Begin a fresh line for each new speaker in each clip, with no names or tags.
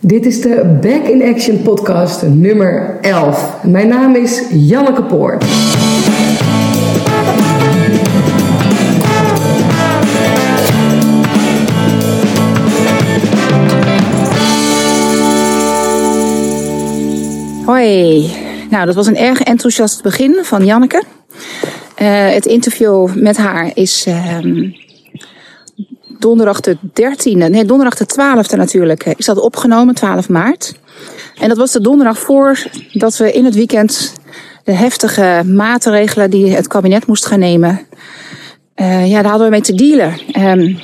Dit is de Back in Action podcast nummer 11. Mijn naam is Janneke Poort.
Hoi. Nou, dat was een erg enthousiast begin van Janneke. Eh, het interview met haar is ehm, donderdag de 13e, nee, donderdag de 12e natuurlijk, eh, is dat opgenomen, 12 maart. En dat was de donderdag voordat we in het weekend de heftige maatregelen die het kabinet moest gaan nemen, eh, ja, daar hadden we mee te dealen. Ehm,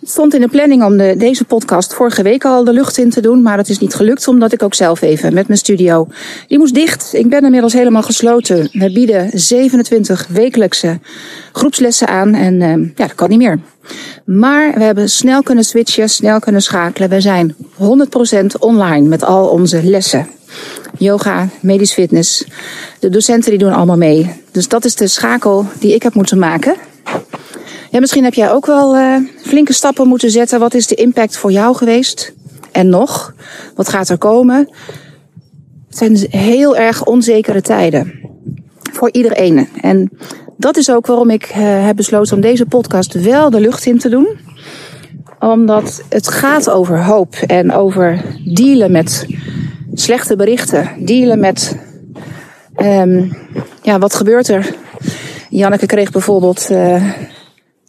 het stond in de planning om de, deze podcast vorige week al de lucht in te doen. Maar dat is niet gelukt, omdat ik ook zelf even met mijn studio. Die moest dicht. Ik ben inmiddels helemaal gesloten. We bieden 27 wekelijkse groepslessen aan. En ehm, ja, dat kan niet meer. Maar we hebben snel kunnen switchen, snel kunnen schakelen. We zijn 100% online met al onze lessen. Yoga, medisch fitness. De docenten die doen allemaal mee. Dus dat is de schakel die ik heb moeten maken. Ja, misschien heb jij ook wel eh, flinke stappen moeten zetten. Wat is de impact voor jou geweest? En nog? Wat gaat er komen? Het zijn heel erg onzekere tijden. Voor iedereen. En dat is ook waarom ik eh, heb besloten om deze podcast wel de lucht in te doen. Omdat het gaat over hoop en over dealen met slechte berichten. Dealen met ehm, ja, wat gebeurt er? Janneke kreeg bijvoorbeeld eh,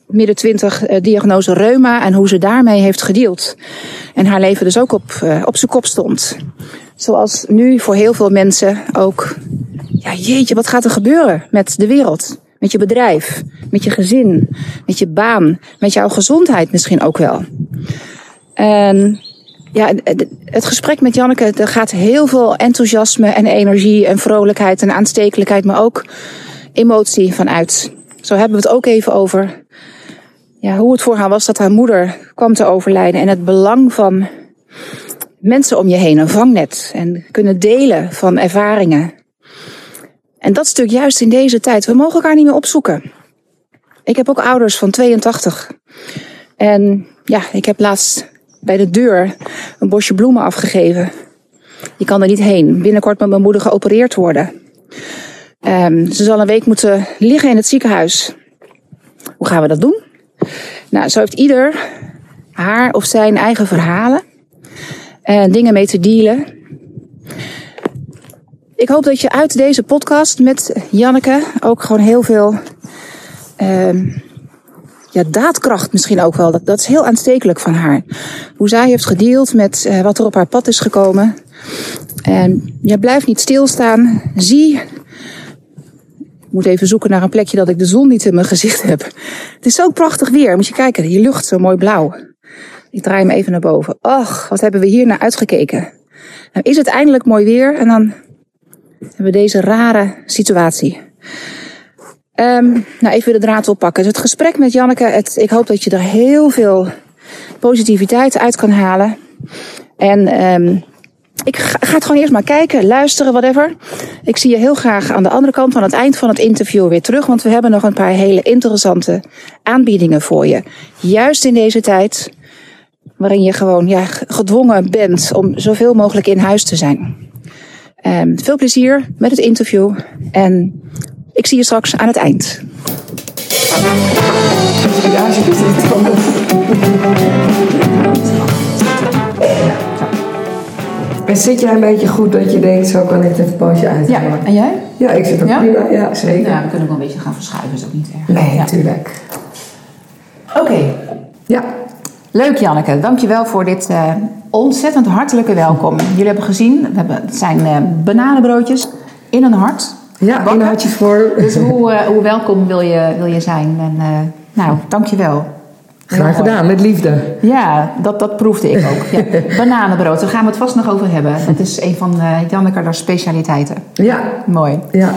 midden twintig eh, diagnose reuma en hoe ze daarmee heeft gedeeld. En haar leven dus ook op, eh, op zijn kop stond. Zoals nu voor heel veel mensen ook. Ja, jeetje, wat gaat er gebeuren met de wereld? Met je bedrijf, met je gezin, met je baan, met jouw gezondheid misschien ook wel. En ja, het- het gesprek met Janneke, er gaat heel veel enthousiasme en energie en vrolijkheid en aanstekelijkheid, maar ook emotie vanuit. Zo hebben we het ook even over ja, hoe het voor haar was dat haar moeder kwam te overlijden. En het belang van mensen om je heen, een vangnet. En kunnen delen van ervaringen. En dat stuk juist in deze tijd. We mogen elkaar niet meer opzoeken. Ik heb ook ouders van 82. En ja, ik heb laatst bij de deur een bosje bloemen afgegeven. Je kan er niet heen. Binnenkort moet mijn moeder geopereerd worden. Ehm, ze zal een week moeten liggen in het ziekenhuis. Hoe gaan we dat doen? Nou, zo heeft ieder haar of zijn eigen verhalen. En dingen mee te dealen. Ik hoop dat je uit deze podcast met Janneke ook gewoon heel veel ehm, ja, daadkracht misschien ook wel. Dat, dat is heel aanstekelijk van haar. Hoe zij heeft gedeeld met eh, wat er op haar pad is gekomen. En ja, blijf niet stilstaan. Zie ik moet even zoeken naar een plekje dat ik de zon niet in mijn gezicht heb. Het is zo prachtig weer. Moet je kijken, die lucht zo mooi blauw. Ik draai hem even naar boven. Och, wat hebben we hier naar uitgekeken. Nou, is het eindelijk mooi weer en dan hebben we deze rare situatie. Ehm, nou, even de draad oppakken. Dus het gesprek met Janneke, het, ik hoop dat je er heel veel positiviteit uit kan halen. En ehm, ik ga ga het gewoon eerst maar kijken, luisteren, whatever. Ik zie je heel graag aan de andere kant van het eind van het interview weer terug. Want we hebben nog een paar hele interessante aanbiedingen voor je. Juist in deze tijd waarin je gewoon ja, gedwongen bent om zoveel mogelijk in huis te zijn. Ehm, veel plezier met het interview. En ik zie je straks aan het eind.
En zit jij een beetje goed dat je denkt, zo kan ik dit een pootje
Ja,
uithalen?
en jij?
Ja, ik zit ook
Ja?
prima. Ja, zeker.
Ja, we kunnen ook wel een beetje gaan verschuiven, is ook niet erg.
Nee,
Ja.
natuurlijk.
Oké,
Ja,
leuk Janneke. Dankjewel voor dit eh, ontzettend hartelijke welkom. Jullie hebben gezien, we hebben, het zijn eh, bananenbroodjes in een hart.
ja
Bakken.
een hartje voor.
Dus hoe, eh, hoe welkom wil je, wil je zijn? En, eh, nou, dankjewel.
Graag gedaan, met liefde.
Ja, dat, dat proefde ik ook. Ja. Bananenbrood, daar gaan we het vast nog over hebben. Dat is een van eh Janneke haar specialiteiten.
Ja,
Mooi.
ja.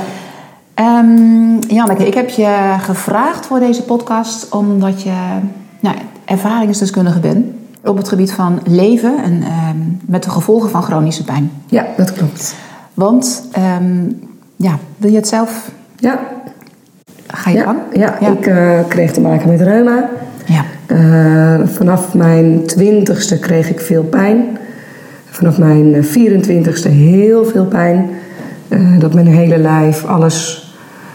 Ehm, Janneke, ik heb je gevraagd voor deze podcast omdat je nou, ervaringsdeskundige bent op het gebied van leven en ehm, met de gevolgen van chronische pijn.
Ja, dat klopt.
Want ehm, ja, wil je het zelf?
Ja,
Ga je
ja,
gang?
ja. ik eh, kreeg te maken met reuma.
Ja.
Eh, vanaf mijn twintigste kreeg ik veel pijn. Vanaf mijn 24ste heel veel pijn. Eh, dat mijn hele lijf, alles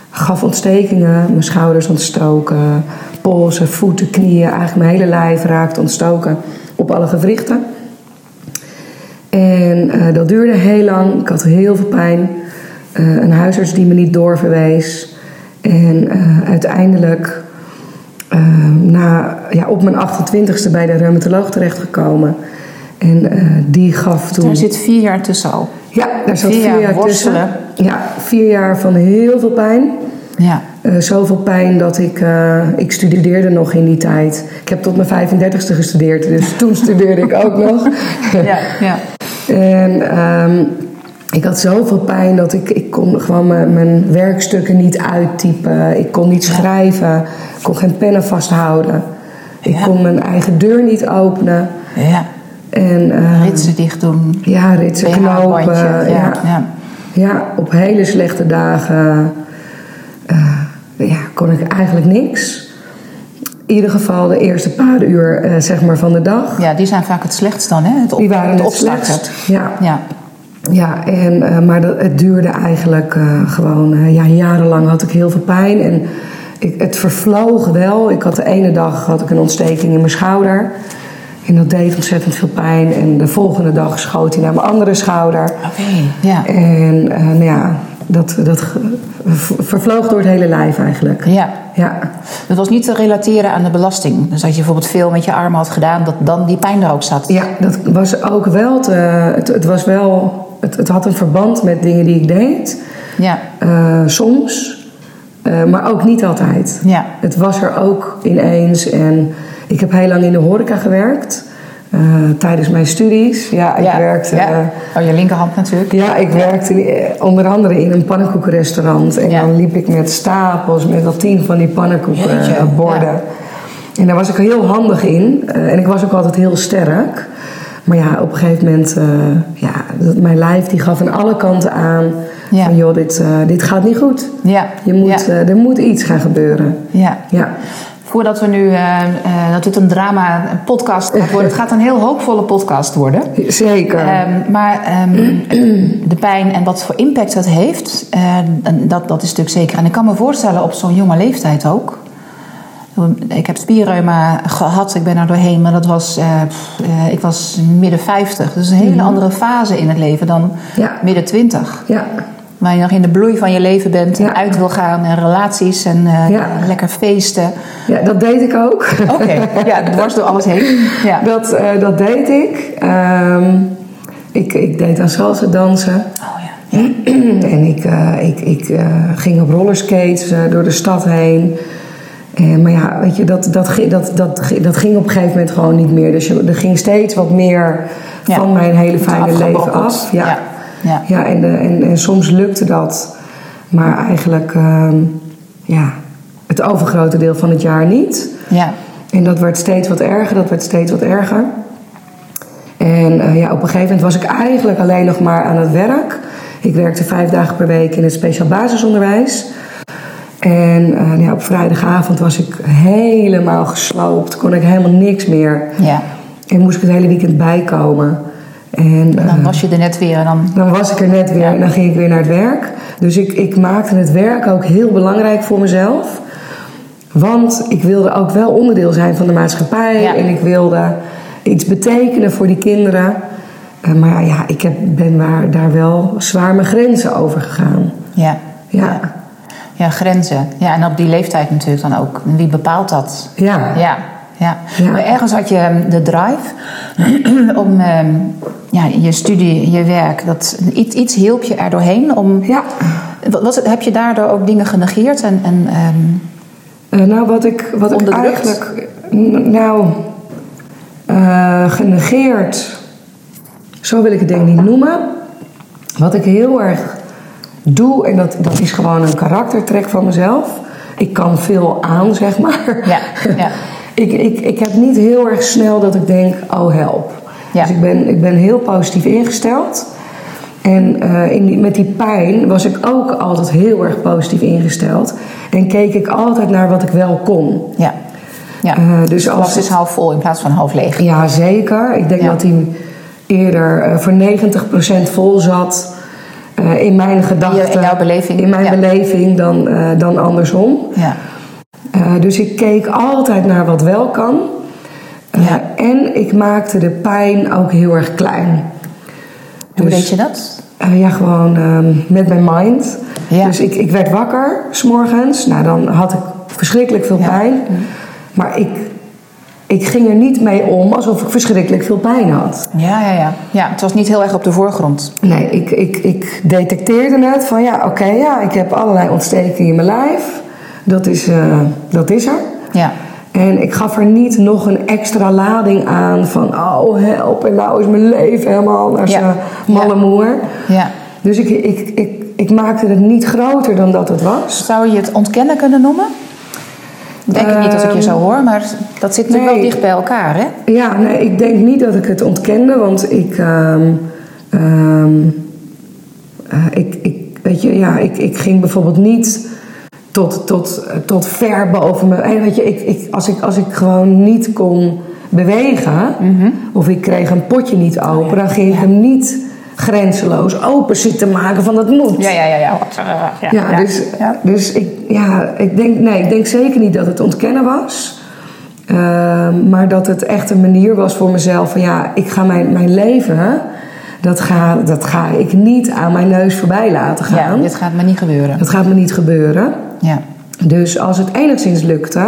gaf ontstekingen. Mijn schouders ontstoken, polsen, voeten, knieën. Eigenlijk mijn hele lijf raakte ontstoken op alle gewrichten. En eh, dat duurde heel lang. Ik had heel veel pijn. Eh, een huisarts die me niet doorverwees. En eh, uiteindelijk eh, na, ja, op mijn 28ste bij de reumatoloog terechtgekomen. En eh, die gaf toen...
Daar zit vier jaar tussen al.
Ja, daar zat
Vier
vier,
jaar
jaar tussen.
worstelen.
Ja, vier jaar van heel veel pijn.
Ja.
Eh, zoveel pijn dat ik... eh, ik studeerde nog in die tijd. Ik heb tot mijn 35ste gestudeerd. Dus toen studeerde ik ook nog.
Ja. ja.
En ehm, ik had zoveel pijn dat ik... Ik kon gewoon mijn, mijn werkstukken niet uittypen. Ik kon niet schrijven. Ik kon geen pennen vasthouden. Ik
Ja.
kon mijn eigen deur niet openen.
ja.
En eh,
Ritsen dicht doen.
ja, ritsen knopen.
BH-bandje. Ja.
ja.
ja.
Ja, op hele slechte dagen eh, ja, kon ik eigenlijk niks. In ieder geval de eerste paar uur eh, zeg maar, van de dag.
Ja, die zijn vaak het slechtst dan, hè? Het op,
Die waren het
opstarten.
slechtst, ja.
ja.
Ja, en, eh, maar dat, het duurde eigenlijk eh, gewoon... eh, ja, jarenlang had ik heel veel pijn en ik, het vervloog wel. Ik had de ene dag had ik een ontsteking in mijn schouder. En dat deed ontzettend veel pijn. En de volgende dag schoot hij naar mijn andere schouder.
Oké. Ja.
En eh, nou ja, dat, dat ge- ver- vervloog door het hele lijf eigenlijk.
ja.
Ja,
Dat was niet te relateren aan de belasting. Dus dat je bijvoorbeeld veel met je armen had gedaan, dat dan die pijn er ook zat.
ja dat was ook wel. Te, het, het was wel. Het, het had een verband met dingen die ik deed.
Ja.
Eh, soms, eh, maar ook niet altijd.
Ja.
Het was er ook ineens. En ik heb heel lang in de horeca gewerkt. eh, tijdens mijn studies. Ja, ik
ja.
werkte.
ja.
eh,
oh, je linkerhand natuurlijk.
Ja, ik werkte eh, onder andere in een pannenkoekenrestaurant. En
Ja.
dan liep ik met stapels, met al tien van die
Jeetje,
pannenkoekenborden. En daar was ik heel handig in. eh, En ik was ook altijd heel sterk. Maar ja, op een gegeven moment... eh, ja, dat- mijn lijf die gaf aan alle kanten aan...
Ja.
van joh, dit, eh, dit gaat niet goed.
Ja.
Je moet,
Ja.
eh, er moet iets gaan gebeuren.
ja.
Ja,
Voordat we nu, eh, eh, dat dit een drama, een podcast gaat worden. Het gaat een heel hoopvolle podcast worden.
zeker.
Ehm, maar ehm, de pijn en wat voor impact dat heeft, eh, en dat, dat is natuurlijk zeker. En ik kan me voorstellen op zo'n jonge leeftijd ook. Ik heb spierreuma gehad, ik ben er doorheen, maar dat was, eh, pff, eh, ik was midden 50. Dus een hele
Mhm.
andere fase in het leven dan
Ja.
midden 20.
ja,
Waar je nog in de bloei van je leven bent en
Ja.
uit wil gaan en relaties en eh,
Ja.
lekker feesten.
ja, dat deed ik ook.
Oké, ja, dwars door alles heen. Ja.
Dat, eh, dat deed ik. Ehm, ik. Ik deed aan salsa dansen.
Oh ja.
en ik, eh, ik, ik eh, ging op rollerskates eh, door de stad heen. En, maar ja, weet je, dat, dat, gi- dat, dat, gi- dat ging op een gegeven moment gewoon niet meer. Dus je- er ging steeds wat meer
Ja.
van mijn hele
Wordt
fijne leven
afgebokkeld.
af.
Ja. Ja.
Ja, en, eh, en, en soms lukte dat, maar eigenlijk ehm, ja, het overgrote deel van het jaar niet.
ja.
En dat werd steeds wat erger, dat werd steeds wat erger. En eh, ja, op een gegeven moment was ik eigenlijk alleen nog maar aan het werk. Ik werkte vijf dagen per week in het speciaal basisonderwijs. En eh, nou ja, op vrijdagavond was ik helemaal gesloopt, kon ik helemaal niks meer.
Ja.
En moest ik het hele weekend bijkomen. En, eh,
Dan was je er net weer en dan
dan was ik er net weer en dan ging ik weer naar het werk. Dus ik, ik maakte het werk ook heel belangrijk voor mezelf. Want ik wilde ook wel onderdeel zijn van de maatschappij.
Ja.
En ik wilde iets betekenen voor die kinderen. Eh, maar ja, ik heb, ben waar, daar wel zwaar mijn grenzen over gegaan.
Ja.
Ja.
Ja, grenzen. Ja, en op die leeftijd natuurlijk dan ook. Wie bepaalt dat?
Ja.
Ja. ja.
Ja.
Maar ergens had je ehm, de drive om ehm, ja, je studie, je werk, dat, iets, iets hielp je er doorheen om.
Ja.
Wa- Was het, heb je daardoor ook dingen genegeerd? En, en, ehm,
Eh, nou, wat ik, wat ik
Onderdrukt?
eigenlijk... n- Nou, eh, genegeerd... Zo wil ik het denk ik niet noemen. Wat ik heel erg doe, en dat, dat is gewoon een karaktertrek van mezelf. Ik kan veel aan, zeg maar.
Ja, ja.
ik, ik, ik heb niet heel erg snel dat ik denk, oh help.
Ja.
Dus ik ben, ik ben heel positief ingesteld. En eh, in die- met die pijn was ik ook altijd heel erg positief ingesteld. En keek ik altijd naar wat ik wel kon.
ja. ja.
Eh,
dus
dus
de
als
glas is half vol in plaats van half leeg.
Ja, zeker. Ik denk
Ja.
dat hij eerder eh, voor 90% vol zat. eh, in mijn gedachten.
in jouw beleving,
In mijn
ja.
beleving dan, eh, dan andersom.
Ja.
Eh, dus ik keek altijd naar wat wel kan. Eh,
Ja.
En ik maakte de pijn ook heel erg klein.
Hoe
Dus-
weet je dat?
Eh, ja, gewoon ehm, met mijn mind.
Ja.
Dus ik, ik werd wakker s'morgens. Nou, dan had ik verschrikkelijk veel
Ja.
pijn. Maar ik, ik ging er niet mee om alsof ik verschrikkelijk veel pijn had.
Ja, ja, ja. ja, het was niet heel erg op de voorgrond.
Nee, ik, ik, ik detecteerde het van ja, oké, ja, ik heb allerlei ontstekingen in mijn lijf. Dat is, eh, dat is er.
Ja,
En ik gaf er niet nog een extra lading aan van oh help en nou is mijn leven helemaal naar
Ja.
zijn malle
Ja.
moer.
ja.
Dus ik, ik, ik, ik maakte het niet groter dan dat het was.
Zou je het ontkennen kunnen noemen? Denk ik niet als ik je zo hoor, maar dat zit natuurlijk
Nee.
wel dicht bij elkaar, hè?
Ja, nee, ik denk niet dat ik het ontkende, want ik. ehm, ehm, eh, ik, ik weet je, ja, ik, ik ging bijvoorbeeld niet tot, tot, eh, tot ver boven me. eh, weet je, ik, ik, als, ik, als ik gewoon niet kon bewegen, of ik kreeg een potje niet open, dan ging ik hem niet grenzeloos open zitten maken van dat moet.
Ja, ja, ja. Ja, ja,
Ja, dus,
ja.
dus ik, ja, ik denk, nee, ik denk zeker niet dat het ontkennen was. Ehm, maar dat het echt een manier was voor mezelf van ja, ik ga mijn, mijn leven, dat ga, dat ga ik niet aan mijn neus voorbij laten
Ja,
gaan.
dit gaat me niet gebeuren.
Dat gaat me niet gebeuren.
Ja,
Dus als het enigszins lukte,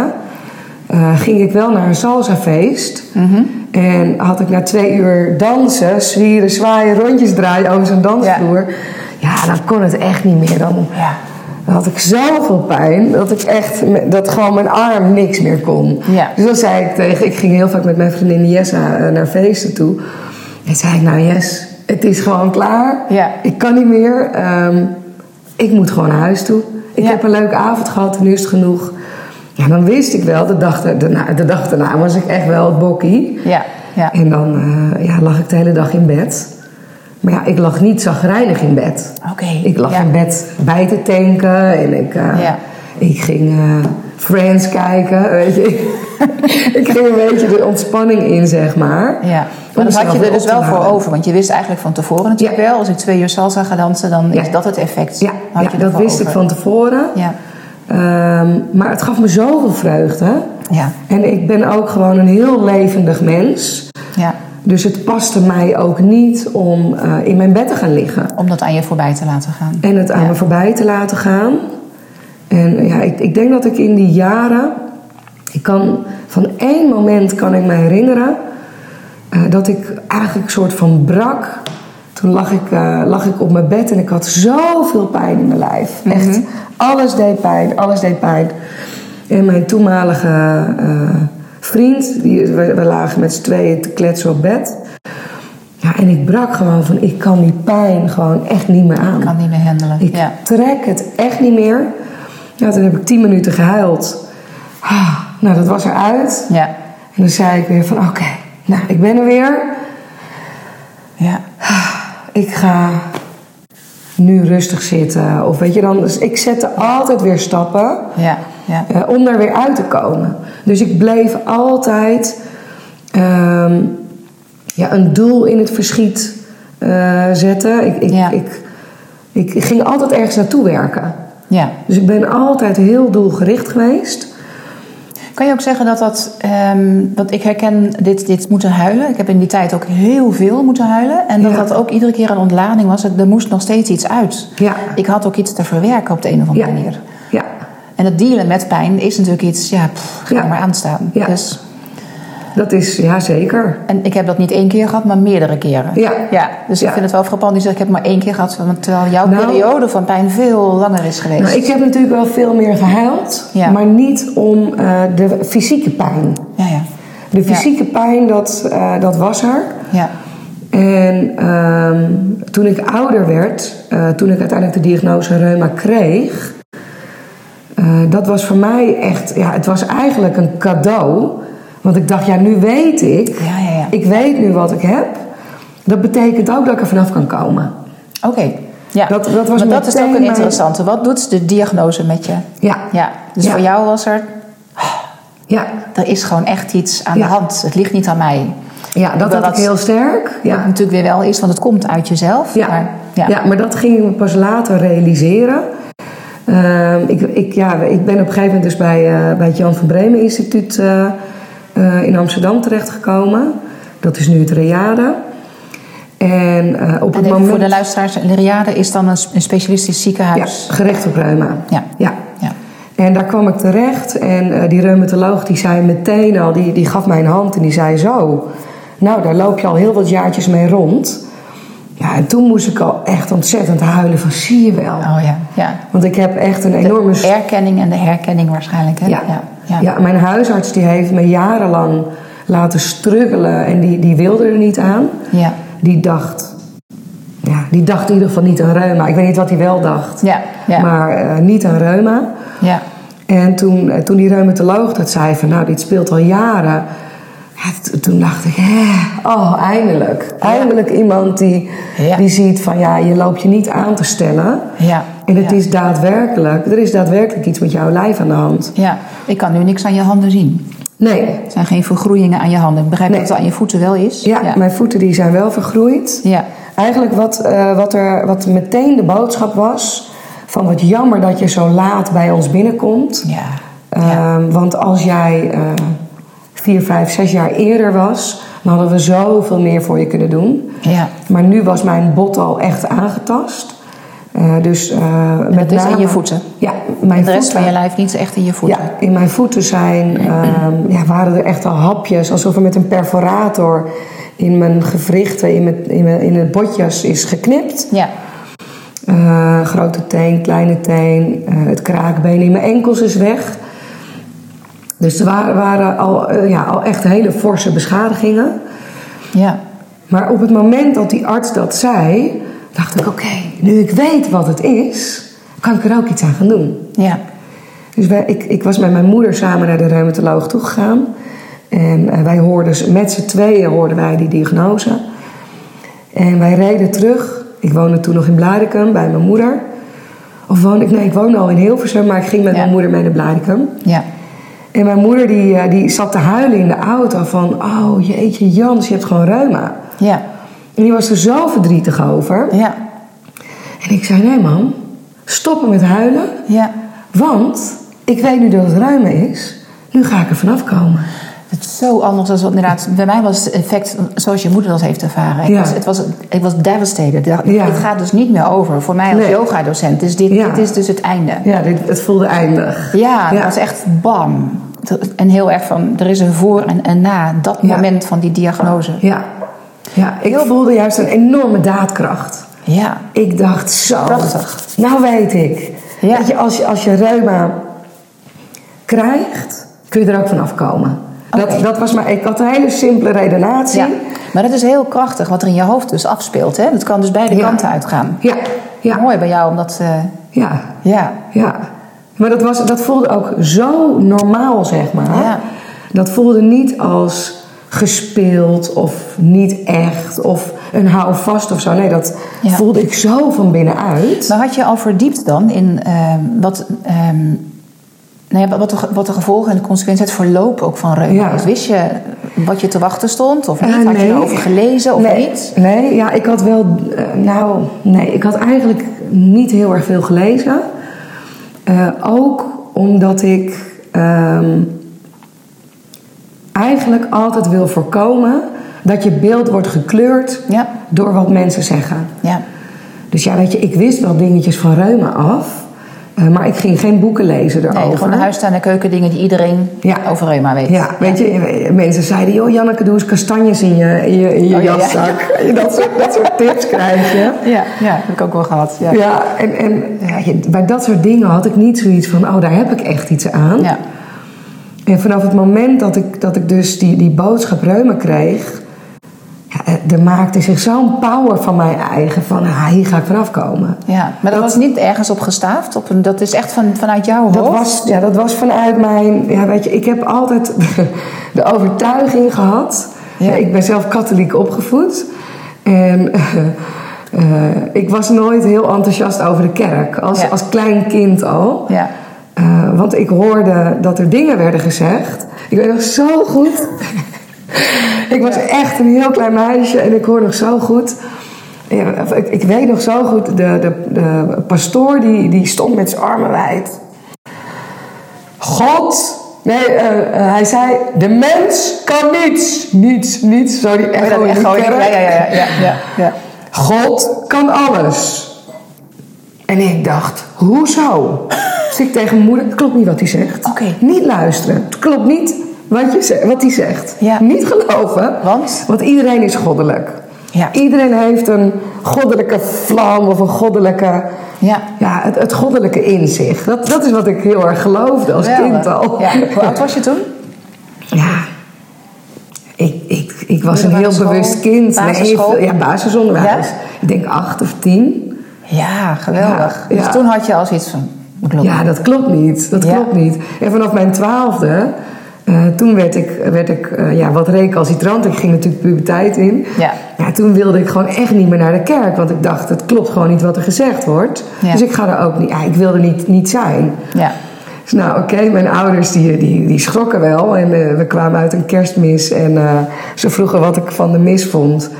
eh, ging ik wel naar een salsafeest.
Mhm.
En had ik na twee uur dansen, zwieren, zwaaien, rondjes draaien over zo'n dansvloer. Ja. dan kon het echt niet meer. Dan,
ja.
dan had ik zoveel pijn dat ik echt, me- dat gewoon mijn arm niks meer kon.
Ja.
Dus dan zei ik tegen, ik ging heel vaak met mijn vriendin Jessa eh, naar feesten toe. En zei ik, nou Jess, het is gewoon klaar.
Ja.
Ik kan niet meer. Ehm, ik moet gewoon naar huis toe. Ik
Ja.
heb een leuke avond gehad, nu is het genoeg. Ja, dan wist ik wel, de dag, da- daarna, de dag daarna was ik echt wel het bokkie.
ja, ja.
En dan eh, ja, lag ik de hele dag in bed. Maar ja, ik lag niet zagrijnig in bed.
Oké.
Ik lag
ja.
in bed bij te tanken en ik, eh,
Ja.
ik ging eh, Friends kijken, weet je. ik ging een beetje de ontspanning in, zeg maar.
Ja,
Om
maar dat had
mezelf
je er
weer
dus
op te
wel voor
halen.
over. Want je wist eigenlijk van tevoren natuurlijk
Ja.
wel... als ik twee uur salsa ga dansen, dan
Ja.
is dat het effect.
Ja,
Had
ja,
je
dat
ervoor
wist ik
over.
van tevoren.
Ja,
Ehm, maar het gaf me zoveel vreugde.
ja,
En ik ben ook gewoon een heel levendig mens.
ja.
Dus het paste mij ook niet om eh, in mijn bed te gaan liggen.
Om dat aan je voorbij te laten gaan.
En het aan me voorbij te laten gaan. En ja, ik, ik denk dat ik in die jaren... Ik kan, van één moment kan ik me herinneren... eh, dat ik eigenlijk een soort van brak. Toen lag ik, eh, lag ik op mijn bed en ik had zoveel pijn in mijn lijf. Echt, alles deed pijn, alles deed pijn. En mijn toenmalige eh, vriend... Die, we, we lagen met z'n tweeën te kletsen op bed... Ja, en ik brak gewoon van, ik kan die pijn gewoon echt niet meer aan.
Ik kan niet meer handelen.
Ik
Ja.
trek het echt niet meer. Ja, toen heb ik tien minuten gehuild. Ah, nou, dat was eruit.
Ja.
En dan zei ik weer van, oké, nou, ik ben er weer.
Ja.
Ik ga nu rustig zitten. Of weet je dan, dus ik zette altijd weer stappen
Ja. Ja.
eh, om daar weer uit te komen. Dus ik bleef altijd ehm, ja, een doel in het verschiet eh, zetten. Ik, ik,
Ja.
ik, ik, ik ging altijd ergens naartoe werken.
ja.
Dus ik ben altijd heel doelgericht geweest.
Kan je ook zeggen dat dat... ehm, want ik herken dit, dit moeten huilen. Ik heb in die tijd ook heel veel moeten huilen. En dat
Ja.
dat ook iedere keer een ontlading was. Er moest nog steeds iets uit.
Ja.
Ik had ook iets te verwerken op de een of andere
Ja.
manier.
Ja,
En het dealen met pijn is natuurlijk iets, ja, pff, ga
Ja.
maar aanstaan.
Ja.
Dus,
dat is, ja zeker.
en ik heb dat niet één keer gehad, maar meerdere keren.
Ja.
dus ik
Ja.
vind het wel frappant. Die zegt, ik heb maar één keer gehad, want terwijl jouw
Nou.
periode van pijn veel langer is geweest.
Nou, ik heb natuurlijk wel veel meer gehuild,
Ja.
maar niet om eh, de fysieke pijn.
Ja, ja.
De fysieke pijn, dat, eh, dat was er.
Ja,
En ehm, toen ik ouder werd, eh, toen ik uiteindelijk de diagnose reuma kreeg, eh, dat was voor mij echt, ja, het was eigenlijk een cadeau. Want ik dacht, ja, nu weet ik,
Ja, ja, ja.
ik weet nu wat ik heb. Dat betekent ook dat ik er vanaf kan komen.
oké. Ja.
Dat- dat was
maar dat is ook
meteen
een
mijn-
interessante. Wat doet de diagnose met je?
Ja.
Ja, dus
Ja.
voor jou was er...
Ja,
Er is gewoon echt iets aan
Ja.
de hand. Het ligt niet aan mij.
ja dat
Hoewel
had ik heel sterk.
Wat
Ja.
natuurlijk weer wel is, want het komt uit jezelf.
Ja.
Maar, ja.
Ja. maar dat ging ik me pas later realiseren. Ehm, ik, ik, ja, ik ben op een gegeven moment dus bij, eh, bij het Jan van Bremen Instituut eh, eh, in Amsterdam terechtgekomen. Dat is nu het Reade. En eh, op
En
het
even
moment...
voor de luisteraars, Liriade is dan een s- een specialistisch
ja,
ziekenhuis.
gerecht op reuma.
Ja.
ja.
Ja.
En daar kwam ik terecht en eh, die reumatoloog die zei meteen al, die, die gaf mij een hand en die zei zo, nou daar loop je al heel wat jaartjes mee rond. Ja, en toen moest ik al echt ontzettend huilen van zie je wel.
Oh ja. ja.
Want ik heb echt een enorme...
De erkenning en de herkenning waarschijnlijk. Hè?
Ja.
Ja.
Ja. mijn huisarts die heeft me jarenlang laten struggelen en die, die wilde er niet aan.
Ja.
Die dacht, ja, die dacht in ieder geval niet aan reuma. Ik weet niet wat hij wel dacht,
Ja. Ja.
maar eh, niet aan reuma.
ja.
En toen, eh, toen die reumatoloog dat zei van nou, dit speelt al jaren. ja, t- toen dacht ik, hè, oh, eindelijk. Eindelijk iemand die,
Ja.
die ziet van ja, je loopt je niet aan te stellen.
Ja.
En het
Ja.
is daadwerkelijk, er is daadwerkelijk iets met jouw lijf aan de hand.
Ja. Ik kan nu niks aan je handen zien.
Nee,
Er zijn geen vergroeien aan je handen. Ik begrijp
Nee.
dat het aan je voeten wel is.
ja,
Ja.
mijn voeten die zijn wel vergroeid.
Ja.
Eigenlijk wat, eh, wat, er, wat meteen de boodschap was, van wat jammer dat je zo laat bij ons binnenkomt.
Ja.
Ehm, want als jij eh vier, vijf, zes jaar eerder was, dan hadden we zoveel meer voor je kunnen doen.
Ja.
Maar nu was mijn bot al echt aangetast. Eh, dus eh met
dat is in
name...
je voeten?
Ja, mijn
de rest
voeten.
van je lijf niet echt in je voeten.
Ja, in mijn voeten zijn, ehm, ja, waren er echt al hapjes. Alsof er met een perforator in mijn gewrichten, in, mijn, in, mijn, in het botjes is geknipt.
Ja.
Eh, grote teen, kleine teen, eh, het kraakbeen in mijn enkels is weg. Dus er wa- waren al, eh, ja, al echt hele forse beschadigingen.
Ja.
Maar op het moment dat die arts dat zei, dacht ik: oké, nu ik weet wat het is, kan ik er ook iets aan gaan doen.
Ja.
Dus wij, ik, ik was met mijn moeder samen naar de reumatoloog toegegaan. En eh, wij hoorden, ze- met z'n tweeën hoorden wij die diagnose. En wij reden terug. Ik woonde toen nog in Blarikum bij mijn moeder. Of woon ik, nee, ik woonde al in Hilversum, maar ik ging met
Ja.
mijn moeder mee naar Blarikum.
Ja.
En mijn moeder die, eh, die zat te huilen in de auto van, oh jeetje Jans, je hebt gewoon reuma.
Ja.
En die was er zo verdrietig over.
Ja.
En ik zei, nee mam, stoppen met huilen.
Ja.
Want ik weet nu dat het ruim is. Nu ga ik er vanaf komen.
Het is zo anders dan wat inderdaad. Bij mij was het effect zoals je moeder dat heeft ervaren. Ik
Ja.
was, het, was, ik was devastated. Ik dacht,
Ja.
Het gaat dus niet meer over. Voor mij als
Nee.
yoga-docent. Dus dit,
Ja.
dit is dus het einde.
Ja, dit, het voelde eindig.
Ja, dat
Ja.
was echt bam. Dat- En heel erg van, er is een voor en een na. Dat
Ja.
moment van die diagnose.
Ja, ja ik voelde juist een enorme daadkracht.
Ja.
Ik dacht zo.
Prachtig.
Nou weet ik.
Ja.
Dat je als, je als je reuma krijgt, kun je er ook vanaf komen.
Oké.
Dat, dat was maar, ik had een hele simpele redenatie.
ja. Maar dat is heel krachtig wat er in je hoofd dus afspeelt. Hè? Dat kan dus beide
Ja.
kanten uitgaan.
Ja, ja,
Mooi bij jou, omdat... eh,
ja.
ja.
ja. Maar dat, was, dat voelde ook zo normaal, zeg maar.
Ja.
Dat voelde niet als gespeeld of niet echt of een houvast of zo. Nee, dat
Ja.
voelde ik zo van binnenuit.
Maar had je al verdiept dan in ehm, wat, ehm, nou ja, wat, de, ge- wat de gevolgen en de consequenties, het verloop ook van reuma
Ja.
is? Wist je wat je te wachten stond of niet?
Eh,
had
nee.
je erover gelezen of
nee,
niet?
Nee, ja, ik had wel... eh, nou, nee, ik had eigenlijk niet heel erg veel gelezen. Eh, ook omdat ik ehm, eigenlijk altijd wil voorkomen... dat je beeld wordt gekleurd
Ja.
door wat mensen zeggen.
Ja,
Dus ja, weet je, ik wist wel dingetjes van reuma af... eh, maar ik ging geen boeken lezen erover.
nee, gewoon de huis staan en keuken dingen die iedereen
Ja.
over reuma weet.
Ja, weet je, mensen zeiden, joh Janneke, doe eens kastanjes in je, in je, in je
Oh, ja, ja.
jaszak. Dat, soort, dat soort tips krijg je.
ja, ja, heb ik ook wel gehad. Ja.
Ja, en, en ja, je- bij dat soort dingen had ik niet zoiets van, oh daar heb ik echt iets aan.
Ja.
En vanaf het moment dat ik, dat ik dus die, die boodschap reuma kreeg, ja, eh, er maakte zich zo'n power van mijn eigen, van ah, hier ga ik vanaf komen.
Ja, maar dat, was niet ergens op gestaafd. Op een, dat is echt van, vanuit jouw hoofd.
Dat was, ja, dat was vanuit mijn. Ja, weet je, ik heb altijd de overtuiging gehad.
Ja.
Ik ben zelf katholiek opgevoed. En eh, eh, ik was nooit heel enthousiast over de kerk. Als,
Ja.
als klein kind al.
Ja. Oh,
Eh, want ik hoorde dat er dingen werden gezegd. Ik weet nog zo goed. ik was echt een heel klein meisje en ik hoor nog zo goed. Ja, ik, ik weet nog zo goed, de, de, de pastoor die, die stond met zijn armen wijd. God. Nee, eh, eh, hij zei: De mens kan niets. Niets, niets. Zo die
Oh,
echo
dat
in de
echo, ja,
kerk.
ja, ja, ja, ja, ja.
God kan alles. En ik dacht, hoezo? Dus ik tegen mijn moeder, het klopt niet wat hij zegt.
Oké.
Niet luisteren. Het klopt niet wat, je ze- wat hij zegt.
Ja.
Niet geloven.
Want?
Want iedereen is goddelijk.
Ja.
Iedereen heeft een goddelijke vlam of een goddelijke...
Ja.
Ja, het, het goddelijke in zich. Dat, dat is wat ik heel erg geloofde als kind al.
Ja. Hoe oud was je toen?
Ja. Ik, ik, ik was een
Middelbare
heel
school,
bewust kind.
basisschool?
Nee, ja, basisonderwijs.
Ja?
Ik denk acht of tien.
Ja, geweldig.
Ja, ja.
Dus toen had je al zoiets van... dat klopt.
Ja, dat klopt niet. Dat
Ja.
klopt niet. En vanaf mijn twaalfde, eh, toen werd ik, werd ik eh, ja, wat recalcitrant. Ik ging natuurlijk puberteit in.
Ja.
toen wilde ik gewoon echt niet meer naar de kerk. Want ik dacht, het klopt gewoon niet wat er gezegd wordt.
Ja.
Dus ik ga er ook niet... Ja, ik wilde niet, niet zijn.
Ja.
Dus nou, oké, mijn ouders die, die, die schrokken wel. En eh, we kwamen uit een kerstmis en eh, ze vroegen wat ik van de mis vond.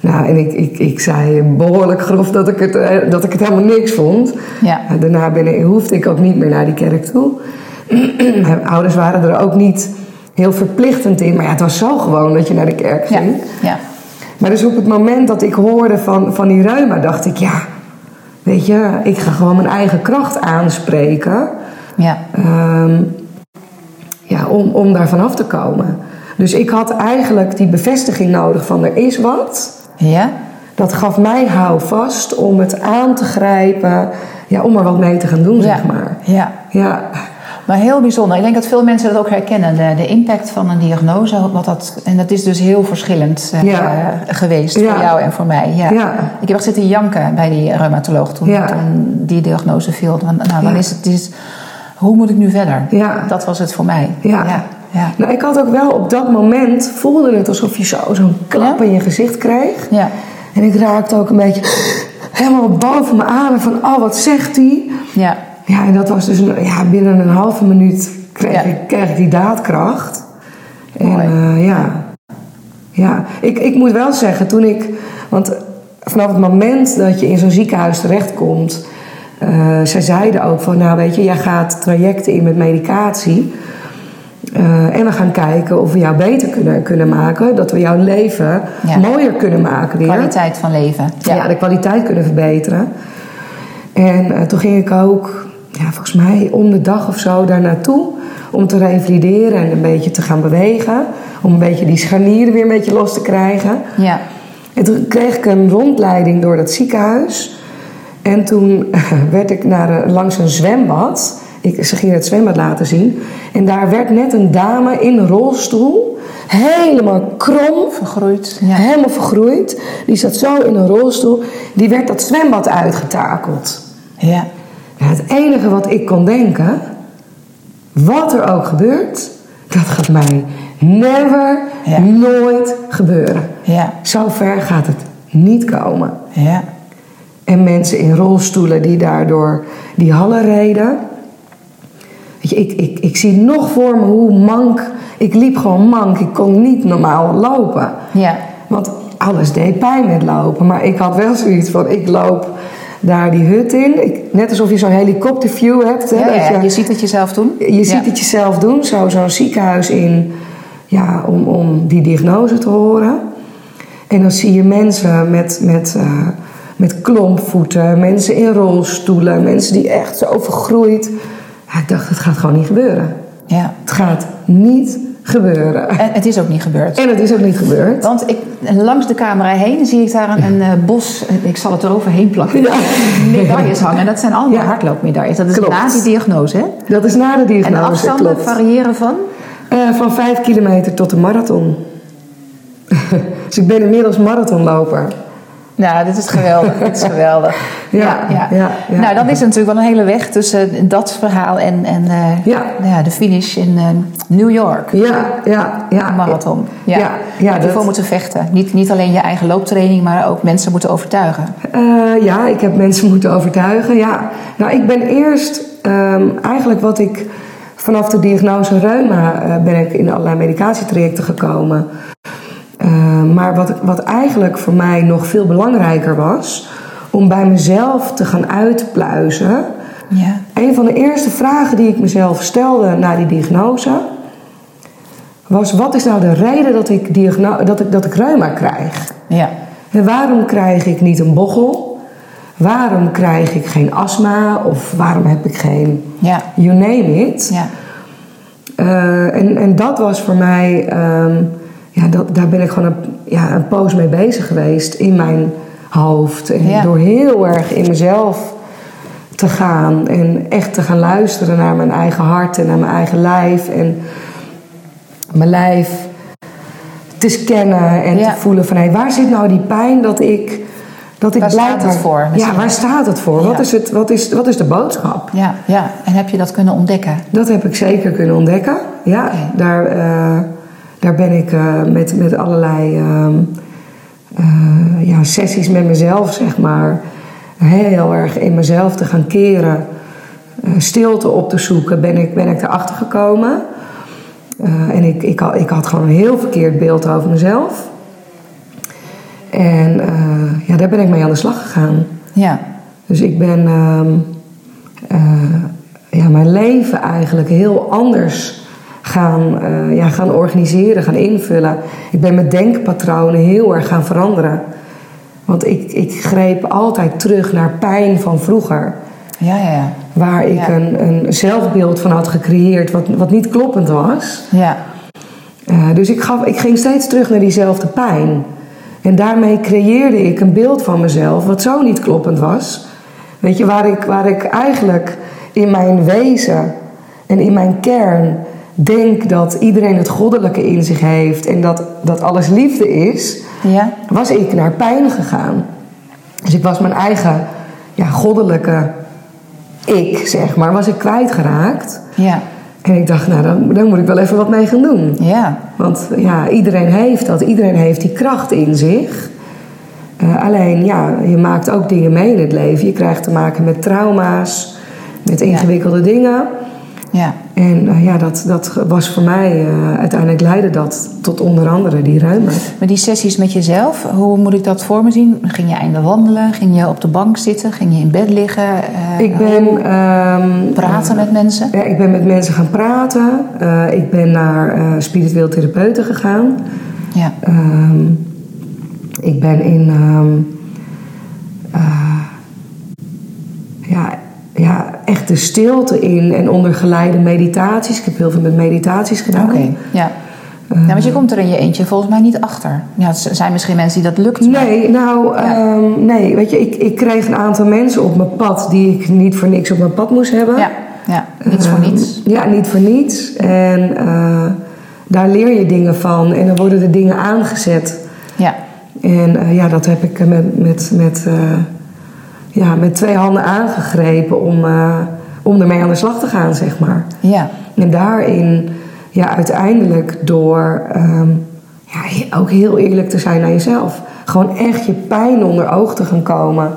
Nou, en ik, ik, ik zei behoorlijk grof dat ik het, eh, dat ik het helemaal niks vond.
Ja.
Nou, daarna ben ik, hoefde ik ook niet meer naar die kerk toe. mijn ouders waren er ook niet heel verplichtend in. Maar ja, het was zo gewoon dat je naar de kerk
Ja.
ging.
ja.
Maar dus op het moment dat ik hoorde van, van die reuma, dacht ik, ja, weet je, ik ga gewoon mijn eigen kracht aanspreken.
ja.
Ehm, ja, om, om daar vanaf te komen. Dus ik had eigenlijk die bevestiging nodig van er is wat.
Ja?
Dat gaf mij houvast om het aan te grijpen. Ja, om er wat mee te gaan doen, zeg maar.
Ja.
Ja,
Maar heel bijzonder. Ik denk dat veel mensen dat ook herkennen. De, de impact van een diagnose. Wat dat, en dat is dus heel verschillend eh,
Ja.
eh, geweest
Ja.
voor jou en voor mij. Ja.
Ja.
Ik heb echt zitten janken bij die reumatoloog toen,
Ja.
toen die diagnose viel. Van, nou, wat
Ja.
is het, het is, hoe moet ik nu verder?
Ja.
Dat was het voor mij.
ja.
Ja. Ja.
Nou, ik had ook wel op dat moment... voelde het alsof je zo- zo'n klap
Ja?
in je gezicht kreeg.
Ja.
En ik raakte ook een beetje helemaal boven me adem. Van, oh, wat zegt hij?
Ja.
Ja, en dat was dus een, ja, binnen een halve minuut kreeg,
Ja.
ik, kreeg ik die daadkracht. En
Mooi.
eh, ja, ja. Ik, ik moet wel zeggen, toen ik. Want vanaf het moment dat je in zo'n ziekenhuis terechtkomt. eh, zij zeiden ook van: Nou, weet je, jij gaat trajecten in met medicatie. eh, en we gaan kijken of we jou beter kunnen, kunnen maken. Dat we jouw leven
Ja.
mooier kunnen maken weer.
Kwaliteit van leven.
Ja. de kwaliteit kunnen verbeteren. En eh, toen ging ik ook, ja, volgens mij om de dag of zo, daar naartoe. Om te revalideren en een beetje te gaan bewegen. Om een beetje die scharnieren weer een beetje los te krijgen.
Ja.
En toen kreeg ik een rondleiding door dat ziekenhuis. En toen eh, werd ik naar, een- langs een zwembad. Ik, ze gingen het zwembad laten zien. En daar werd net een dame in een rolstoel. Helemaal krom.
Vergroeid. Ja.
Helemaal vergroeid. Die zat zo in een rolstoel. Die werd dat zwembad uitgetakeld.
Ja.
Ja, het enige wat ik kon denken, wat er ook gebeurt, dat gaat mij never,
Ja.
nooit gebeuren.
Ja.
Zo ver gaat het niet komen.
Ja.
En mensen in rolstoelen die daardoor die hallen reden. Weet je, ik, ik, ik zie nog voor me hoe mank. Ik liep gewoon mank. Ik kon niet normaal lopen.
Ja.
Want alles deed pijn met lopen. Maar ik had wel zoiets van: ik loop daar die hut in. Ik- net alsof je zo'n helikopterview hebt. Hè,
Ja, ja,
dat
Je ziet het jezelf doen.
je ziet
Ja.
het jezelf doen, zo, zo'n ziekenhuis in, ja, om, om die diagnose te horen. En dan zie je mensen met, met, eh, met klompvoeten, mensen in rolstoelen, mensen die echt zo vergroeid. Ja, ik dacht, het gaat gewoon niet gebeuren.
Ja.
Het gaat niet gebeuren.
En het is ook niet gebeurd.
En het is ook niet gebeurd.
Want ik, langs de camera heen zie ik daar een, een eh, bos, ik zal het eroverheen plakken,
Ja.
medailles hangen. En dat zijn allemaal
Ja.
hardloopmedailles. Dat is
Klopt.
na die diagnose. Hè?
Dat is na de
En de
diagnose,
afstanden
klopt.
variëren van?
Eh, van 5 kilometer tot de marathon. dus ik ben inmiddels marathonloper.
Nou, dit is geweldig. dit is geweldig.
Ja, ja, ja.
Nou, dan is er natuurlijk wel een hele weg tussen dat verhaal en, en eh,
Ja.
nou ja, de finish in eh, New York.
Ja, ja, ja.
Een marathon. Ja,
Ja,
ja,
ja,
Heb je
dat-
voor moeten vechten. Niet, niet alleen je eigen looptraining, maar ook mensen moeten overtuigen.
Eh, ja, ik heb mensen moeten overtuigen. Ja. Nou, ik ben eerst ehm, eigenlijk wat ik Vanaf de diagnose reuma eh, ben ik in allerlei medicatietrajecten gekomen. Eh, maar wat, wat eigenlijk voor mij nog veel belangrijker was, om bij mezelf te gaan uitpluizen.
Ja.
Een van de eerste vragen die ik mezelf stelde na die diagnose was: wat is nou de reden dat ik, diagno- dat ik, dat ik reuma krijg?
Ja.
En waarom krijg ik niet een bochel? Waarom krijg ik geen astma? Of waarom heb ik geen
Ja.
you name it?
Ja.
Eh, en, en dat was voor mij, ehm, ja, dat, daar ben ik gewoon een, ja, een poos mee bezig geweest in mijn hoofd. En
Ja.
door heel erg in mezelf te gaan en echt te gaan luisteren naar mijn eigen hart en naar mijn eigen lijf. En mijn lijf te scannen en
Ja.
te voelen van hé, waar zit nou die pijn dat ik, dat ik
Waar
blijkbaar...
staat het voor,
Ja,
misschien?
waar staat het voor? Wat,
Ja.
is het, wat, is, wat is de boodschap?
Ja. Ja. En heb je dat kunnen ontdekken?
Dat heb ik zeker kunnen ontdekken. Ja,
Oké.
daar, eh, daar ben ik eh, met, met allerlei ehm, eh, ja, sessies met mezelf, zeg maar, heel erg in mezelf te gaan keren. eh, stilte op te zoeken, ben ik, ben ik erachter gekomen. Eh, en ik, ik, had, ik had gewoon een heel verkeerd beeld over mezelf. En eh, ja, daar ben ik mee aan de slag gegaan.
Ja.
Dus ik ben ehm, eh, ja, mijn leven eigenlijk heel anders gaan, eh, ja, gaan organiseren, gaan invullen. Ik ben mijn denkpatronen heel erg gaan veranderen. Want ik, ik greep altijd terug naar pijn van vroeger.
Ja, ja, ja.
Waar ik
Ja.
een, een zelfbeeld van had gecreëerd wat, wat niet kloppend was.
Ja.
Eh, dus ik, gaf, ik ging steeds terug naar diezelfde pijn. En daarmee creëerde ik een beeld van mezelf wat zo niet kloppend was. Weet je, waar ik, waar ik eigenlijk in mijn wezen en in mijn kern denk dat iedereen het goddelijke in zich heeft en dat, dat alles liefde is,
Ja.
was ik naar pijn gegaan. Dus ik was mijn eigen ja, goddelijke ik, zeg maar, was ik kwijtgeraakt.
Ja.
En ik dacht, nou, daar, daar moet ik wel even wat mee gaan doen.
Ja.
Want ja, iedereen heeft dat. Iedereen heeft die kracht in zich. Eh, alleen ja, je maakt ook dingen mee in het leven. Je krijgt te maken met trauma's, met ingewikkelde dingen.
Ja.
En eh, ja, dat, dat was voor mij eh, uiteindelijk leidde dat tot onder andere die ruimte.
Maar die sessies met jezelf, hoe moet ik dat voor me zien? Ging je einde wandelen? Ging je op de bank zitten? Ging je in bed liggen? Eh,
Ik ben. ehm,
praten met mensen?
Ja, ik ben met mensen gaan praten. Eh, ik ben naar eh, spiritueel therapeuten gegaan.
Ja.
Ehm, ik ben in. ehm, eh, ja, ja, echt de stilte in en onder geleide meditaties. Ik heb heel veel met meditaties gedaan.
Oké. Ja.
Eh.
ja. Want je komt er in je eentje volgens mij niet achter. Ja, er zijn misschien mensen die dat lukt. maar-
Nee, nou,
Ja.
ehm, nee, weet je, ik, ik kreeg een aantal mensen op mijn pad die ik niet voor niks op mijn pad moest hebben.
Ja. Ja. Niets voor
Ehm,
niets.
Ja, niet voor niets. En eh, daar leer je dingen van en dan worden er dingen aangezet.
Ja.
En eh, ja, dat heb ik eh, met, met, met, eh, ja, met twee handen aangegrepen om, eh, om ermee aan de slag te gaan, zeg maar.
Ja.
En daarin, ja, uiteindelijk door ehm, ja, he- ook heel eerlijk te zijn naar jezelf. Gewoon echt je pijn onder oog te gaan komen.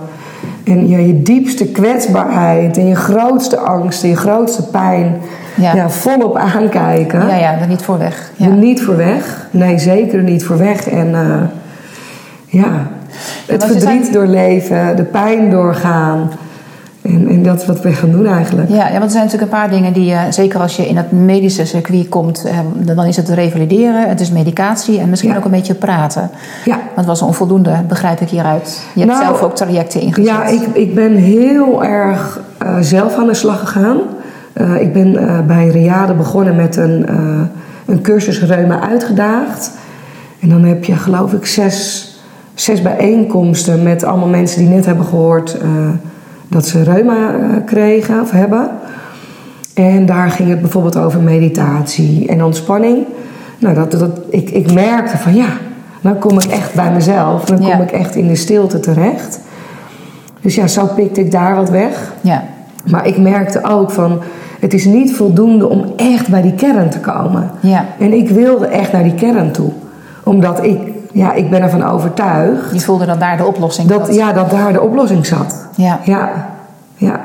En je, je diepste kwetsbaarheid en je grootste angst en je grootste pijn
Ja.
ja. volop aankijken.
Ja, ja, daar niet voor weg.
Er
Ja.
Niet voor weg. Nee, zeker niet voor weg. En eh, ja, het
want je
verdriet
zei-
doorleven, de pijn doorgaan. En, en dat is wat we gaan doen eigenlijk.
Ja, ja, want er zijn natuurlijk een paar dingen die, je, zeker als je in het medische circuit komt, eh, dan is het revalideren, het is medicatie en misschien
Ja.
ook een beetje praten.
Ja.
Want het was onvoldoende, begrijp ik hieruit. Je hebt
Nou,
zelf ook trajecten ingezet.
Ja, ik, ik ben heel erg eh, zelf aan de slag gegaan. Eh, ik ben eh, bij Riade begonnen met een, eh, een cursus Reuma Uitgedaagd. En dan heb je geloof ik zes, zes bijeenkomsten met allemaal mensen die net hebben gehoord eh, dat ze reuma eh, kregen of hebben. En daar ging het bijvoorbeeld over meditatie en ontspanning. Nou, dat, dat, ik, ik merkte van ja, dan kom ik echt bij mezelf. Dan kom
Ja.
ik echt in de stilte terecht. Dus ja, zo pikte ik daar wat weg.
Ja,
Maar ik merkte ook van, het is niet voldoende om echt bij die kern te komen.
Ja.
En ik wilde echt naar die kern toe. Omdat ik, ja, ik ben ervan overtuigd
je voelde dat daar de oplossing
dat,
zat.
ja, dat daar de oplossing zat.
Ja.
Ja, ja.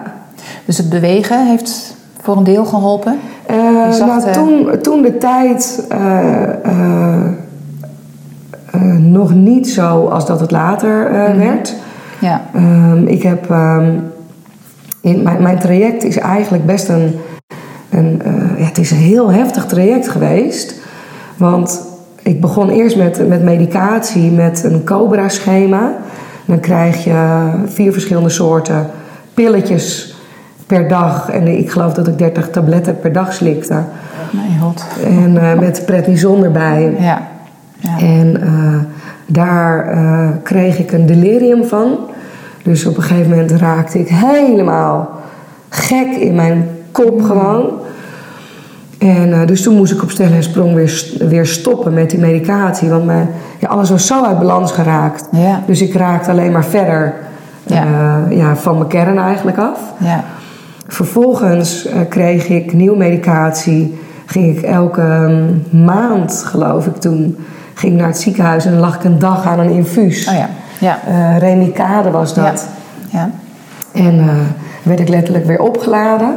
Dus het bewegen heeft voor een deel geholpen.
Eh, Eh,
Je zag
nou,
het, hè?
toen, toen de tijd eh, eh, eh, nog niet zo als dat het later eh, werd.
Ja.
Ehm, ik heb. ehm, in, mijn, mijn traject is eigenlijk best een. een eh, ja, het is een heel heftig traject geweest. Want ik begon eerst met, met medicatie, met een Cobra-schema. Dan krijg je vier verschillende soorten pilletjes per dag. En ik geloof dat ik 30 tabletten per dag slikte.
Nee, god.
En eh, met prednison erbij.
Ja. ja.
En eh, daar eh, kreeg ik een delirium van. Dus op een gegeven moment raakte ik helemaal gek in mijn
Mm.
kop gewoon. En eh, dus toen moest ik op stel en sprong weer, st- weer stoppen met die medicatie. Want mijn, ja, alles was zo uit balans geraakt.
Ja.
Dus ik raakte alleen maar verder
Ja.
eh, ja, van mijn kern eigenlijk af.
Ja.
Vervolgens eh, kreeg ik nieuwe medicatie. Ging ik elke mm, maand, geloof ik toen, ging ik naar het ziekenhuis en dan lag ik een dag aan een infuus.
Oh ja. Ja.
Eh, Remicade was dat.
Ja.
En eh, werd ik letterlijk weer opgeladen.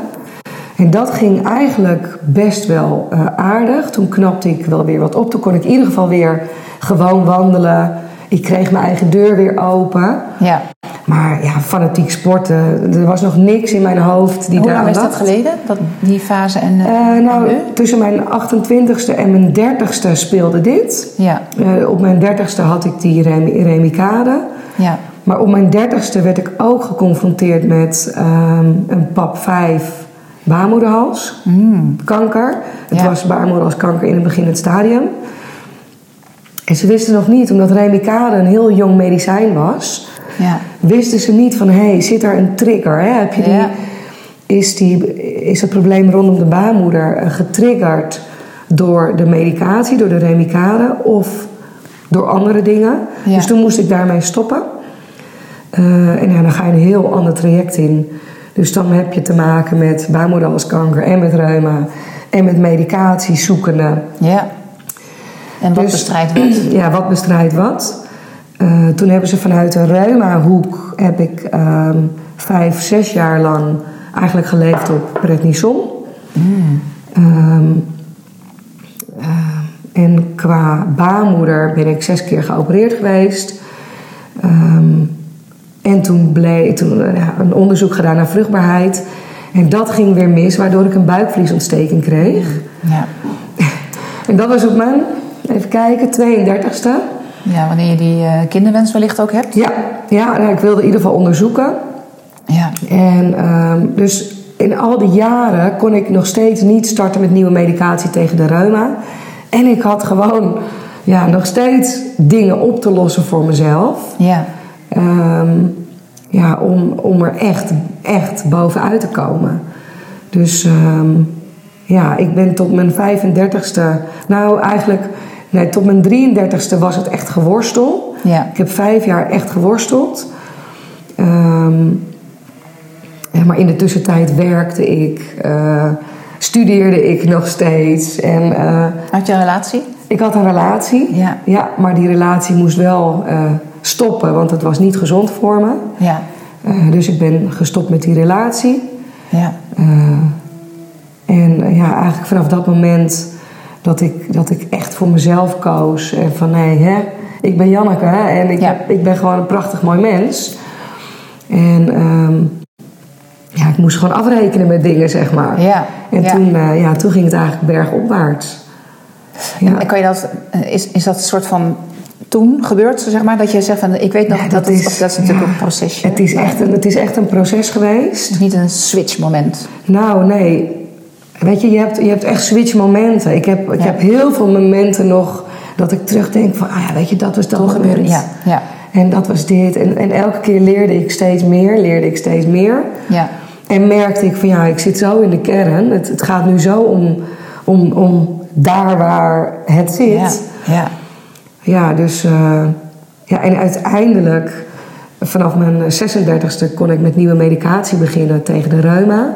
En dat ging eigenlijk best wel eh, aardig. Toen knapte ik wel weer wat op. Toen kon ik in ieder geval weer gewoon wandelen. Ik kreeg mijn eigen deur weer open.
Ja.
Maar ja, fanatiek sporten. Er was nog niks in mijn hoofd die
Hoe
daar
lang
aan
is dat
dacht.
geleden? Dat, die fase en, eh,
Eh, nou,
en nu?
tussen mijn 28ste en mijn 30ste speelde dit.
Ja.
Eh, op mijn 30ste had ik die remi- remicade.
Ja.
Maar op mijn 30ste werd ik ook geconfronteerd met ehm, een pap 5 baarmoederhals. Kanker. Het
Ja.
was baarmoederhalskanker in het beginnend stadium. En ze wisten nog niet, omdat remicade een heel jong medicijn was
Ja.
wisten ze niet van, hé, hey, zit er een trigger? Hè? Heb je die,
Ja.
is, die, is het probleem rondom de baarmoeder eh, getriggerd door de medicatie, door de remicade of door andere dingen?
Ja.
Dus toen moest ik daarmee stoppen. Eh, en ja, dan ga je een heel ander traject in. Dus dan heb je te maken met baarmoederhalskanker en met reuma en met medicatie zoekende.
Ja. En wat
Dus-
bestrijdt wat?
Ja, wat bestrijdt wat? Eh, toen hebben ze vanuit de reuma-hoek heb ik ehm, vijf, zes jaar lang eigenlijk geleefd op prednison. Ehm, ehm, en qua baarmoeder ben ik zes keer geopereerd geweest. Ehm, en toen bleek toen, eh, ja, een onderzoek gedaan naar vruchtbaarheid. En dat ging weer mis, waardoor ik een buikvliesontsteking kreeg.
Ja.
En dat was op mijn, even kijken, 32e.
Ja, wanneer je die eh, kinderwens wellicht ook hebt.
Ja, ja nou, ik wilde in ieder geval onderzoeken.
Ja.
En ehm, dus in al die jaren kon ik nog steeds niet starten met nieuwe medicatie tegen de reuma. En ik had gewoon ja, nog steeds dingen op te lossen voor mezelf.
Ja.
Ehm, ja, om, om er echt, echt bovenuit te komen. Dus ehm, ja, ik ben tot mijn 35ste, nou eigenlijk, nee, tot mijn 33ste was het echt geworstel.
Ja.
Ik heb vijf jaar echt geworsteld. Ehm, ja, maar in de tussentijd werkte ik, eh, studeerde ik nog steeds. En eh,
Uit je relatie?
ik had een relatie.
Ja.
maar die relatie moest wel eh, stoppen, want het was niet gezond voor me.
Ja.
Eh, dus ik ben gestopt met die relatie.
Ja.
Eh, en eh, ja, eigenlijk vanaf dat moment dat ik, dat ik echt voor mezelf koos. En van nee, hè, ik ben Janneke hè, en ik,
Ja.
heb- ik ben gewoon een prachtig mooi mens. En ehm, ja, ik moest gewoon afrekenen met dingen, zeg maar.
Ja,
En
ja.
Toen, eh, ja, toen ging het eigenlijk bergopwaarts. Ja.
En kan je dat, eh, is, is dat een soort van toen gebeurd, zeg maar? Dat je zegt van, ik weet nog
Ja,
dat, het- of dat is natuurlijk
ja,
ook een procesje.
Het is,
maar
echt een, het is echt een proces
Het
geweest.
is niet een switch moment.
Nou, nee. Weet je, je hebt, je hebt echt switchmomenten. Ik heb, ik
Ja.
heb heel veel momenten nog dat ik terugdenk van... Ah ja, weet je, dat was dat moment.
Ja, ja,
En dat was dit. En, en elke keer leerde ik steeds meer, leerde ik steeds meer.
ja,
En merkte ik van ja, ik zit zo in de kern. Het, het gaat nu zo om, om, om daar waar het zit.
ja, ja,
Ja, dus. eh, ja, en uiteindelijk, vanaf mijn 36e, kon ik met nieuwe medicatie beginnen tegen de reuma.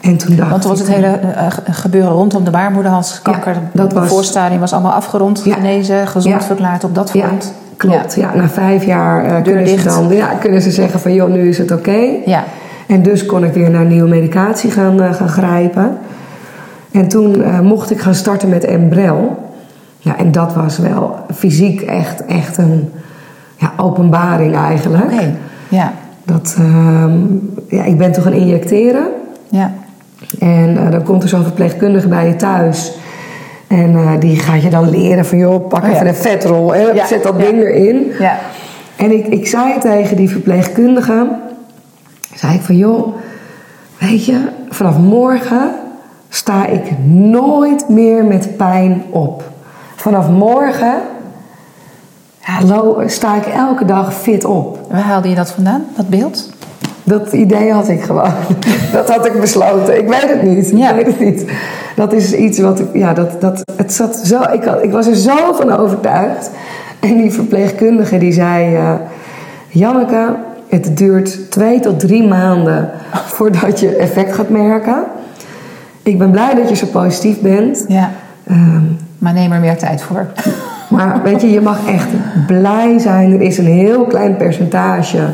En toen dacht
Want toen was
ik,
het hele eh, ge- gebeuren rondom de baarmoederhalskanker.
Ja, dat
het
was-
voorstadium was allemaal afgerond,
Ja.
genezen, gezond
Ja.
verklaard op dat
Ja,
front.
klopt. Ja. na vijf jaar eh, kunnen, ze
dicht.
dan, ja, kunnen ze zeggen: van joh, nu is het oké.
Ja, ja,
En dus kon ik weer naar nieuwe medicatie gaan, eh, gaan grijpen. En toen eh, mocht ik gaan starten met Embrel. Ja, en dat was wel fysiek echt, echt een ja, openbaring eigenlijk.
Oké. Ja.
Dat, ehm, ja, ik ben toch gaan injecteren.
Ja.
En eh, dan komt er zo'n verpleegkundige bij je thuis. En eh, die gaat je dan leren van, joh, pak
Oh ja.
even een vetrol. Hè?
Ja,
Zet dat
ja.
ding erin.
Ja.
En ik, ik zei tegen die verpleegkundige, zei ik van joh, weet je, vanaf morgen sta ik nooit meer met pijn op. Vanaf morgen ja, lo- sta ik elke dag fit op.
Waar haalde je dat vandaan, dat beeld?
Dat idee had ik gewoon. Dat had ik besloten. Ik weet het niet.
Ja.
Ik weet het niet. Dat is iets wat ik. Ja, dat, dat, het zat zo, ik, had- ik was er zo van overtuigd. En die verpleegkundige die zei: eh Janneke, het duurt twee tot drie maanden voordat je effect gaat merken. Ik ben blij dat je zo positief bent.
Ja.
Ehm,
Maar neem er meer tijd voor.
maar weet je, je mag echt blij zijn. Er is een heel klein percentage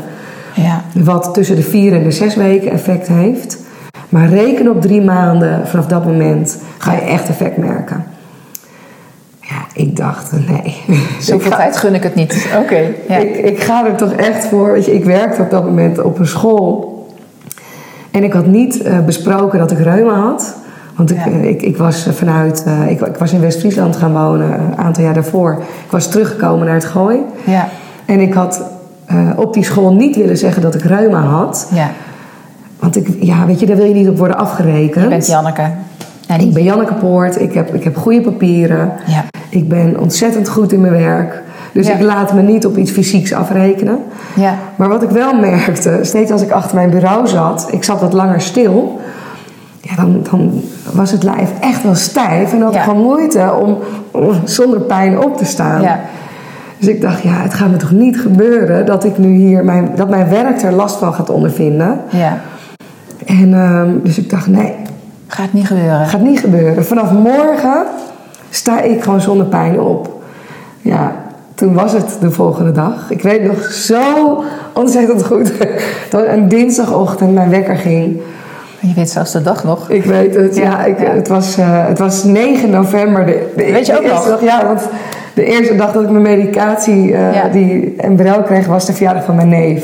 Ja.
wat tussen de vier en de zes weken effect heeft. Maar reken op drie maanden, vanaf dat moment ga je echt effect merken. Ja, ik dacht, nee. ik,
Zoveel
ga,
tijd gun ik het niet. Oké. Ja.
ik, ik ga er toch echt voor. Weet je, ik werkte op dat moment op een school. En ik had niet eh, besproken dat ik reuma had. Want ik,
Ja.
eh, ik, ik was eh, vanuit... eh, ik, ik was in West-Friesland gaan wonen eh, een aantal jaar daarvoor. Ik was teruggekomen naar het Gooi.
Ja.
En ik had eh, op die school niet willen zeggen dat ik reuma had.
ja.
Want ik, ja, weet je, daar wil je niet op worden afgerekend.
Je bent Janneke. En
Ik ben Janneke Poort, ik heb, ik heb goede papieren.
Ja.
Ik ben ontzettend goed in mijn werk. Dus
Ja.
ik laat me niet op iets fysieks afrekenen.
Ja.
Maar wat ik wel merkte, steeds als ik achter mijn bureau zat, ik zat wat langer stil. Ja, dan, dan was het lijf echt wel stijf en had
Ja.
ik gewoon moeite om, om zonder pijn op te staan.
Ja.
Dus ik dacht, ja, het gaat me toch niet gebeuren dat ik nu hier mijn, dat mijn werk er last van gaat ondervinden.
Ja.
En ehm, dus ik dacht, nee,
Gaat niet gebeuren.
gaat niet gebeuren. Vanaf morgen sta ik gewoon zonder pijn op. Ja, toen was het de volgende dag. Ik weet nog zo ontzettend goed dat een dinsdagochtend mijn wekker ging.
Je weet zelfs de dag nog.
Ik weet het, ja.
Ja,
ik,
ja.
Het, was, eh, het was 9 november. De, de-
Weet je
de
ook
eerste
nog?
Dag, ja, want de eerste dag dat ik mijn medicatie, eh,
Ja.
die Embrel kreeg, was de verjaardag van mijn neef.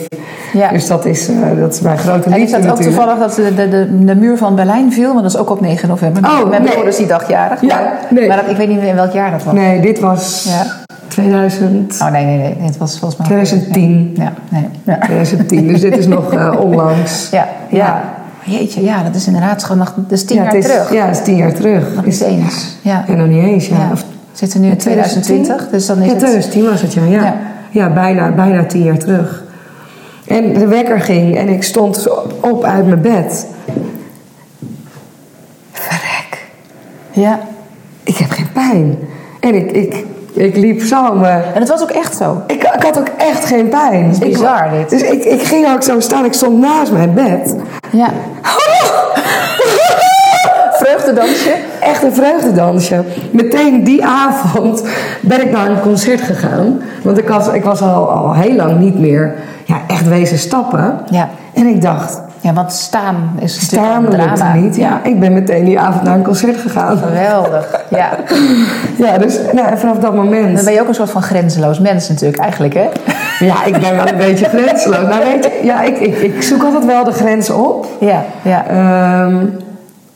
Ja.
Dus dat is, eh, dat is mijn grote liefde
En is dat ook
natuurlijk.
toevallig dat de, de, de, de muur van Berlijn viel? Want dat is ook op 9 november.
Oh,
Mijn
nee.
broer is die dag jarig.
Ja,
maar
nee.
maar dat, ik weet niet meer in welk jaar dat was.
Nee, dit was
Ja.
2000.
Oh nee, nee, nee. Het was volgens mij...
2010.
Ja, nee. Ja.
2010, dus dit is nog eh, onlangs.
Ja, ja. Oh, Jeetje, ja, dat is inderdaad gewoon nog... Dat is tien
Ja,
jaar
het is,
terug.
Ja, het is tien jaar terug.
Nog niet eens. Ja.
En nog niet eens, ja.
Ja.
Of-
We zitten nu in 2020, dus dan is
ja,
het-
2010 was het, ja. Ja,
Ja.
ja. bijna, bijna tien jaar terug. En de wekker ging en ik stond zo op uit mijn bed. Verrek,
Ja.
ik heb geen pijn. En ik, ik, ik liep zo mijn
En het was ook echt zo.
Ik, ik had ook echt geen pijn.
is bizar,
ik,
dit.
Dus ik, ik ging ook zo staan. Ik stond naast mijn bed.
Ja. Vreugdedansje.
Echt een vreugdedansje. Meteen die avond ben ik naar een concert gegaan. Want ik, had, ik was al, al heel lang niet meer ja, echt wezen stappen.
Ja.
En ik dacht,
Ja, want staan is natuurlijk
staan
een
lukte
drama.
niet. Ja, ik ben meteen die avond naar een concert gegaan.
Geweldig, ja.
Ja, dus nou, en vanaf dat moment...
Dan ben je ook een soort van grenzeloos mens natuurlijk, eigenlijk, hè?
Ja, ik ben wel een beetje grensloos. Nou weet je, ja, ik, ik, ik zoek altijd wel de grens op.
Ja, ja.
Ehm,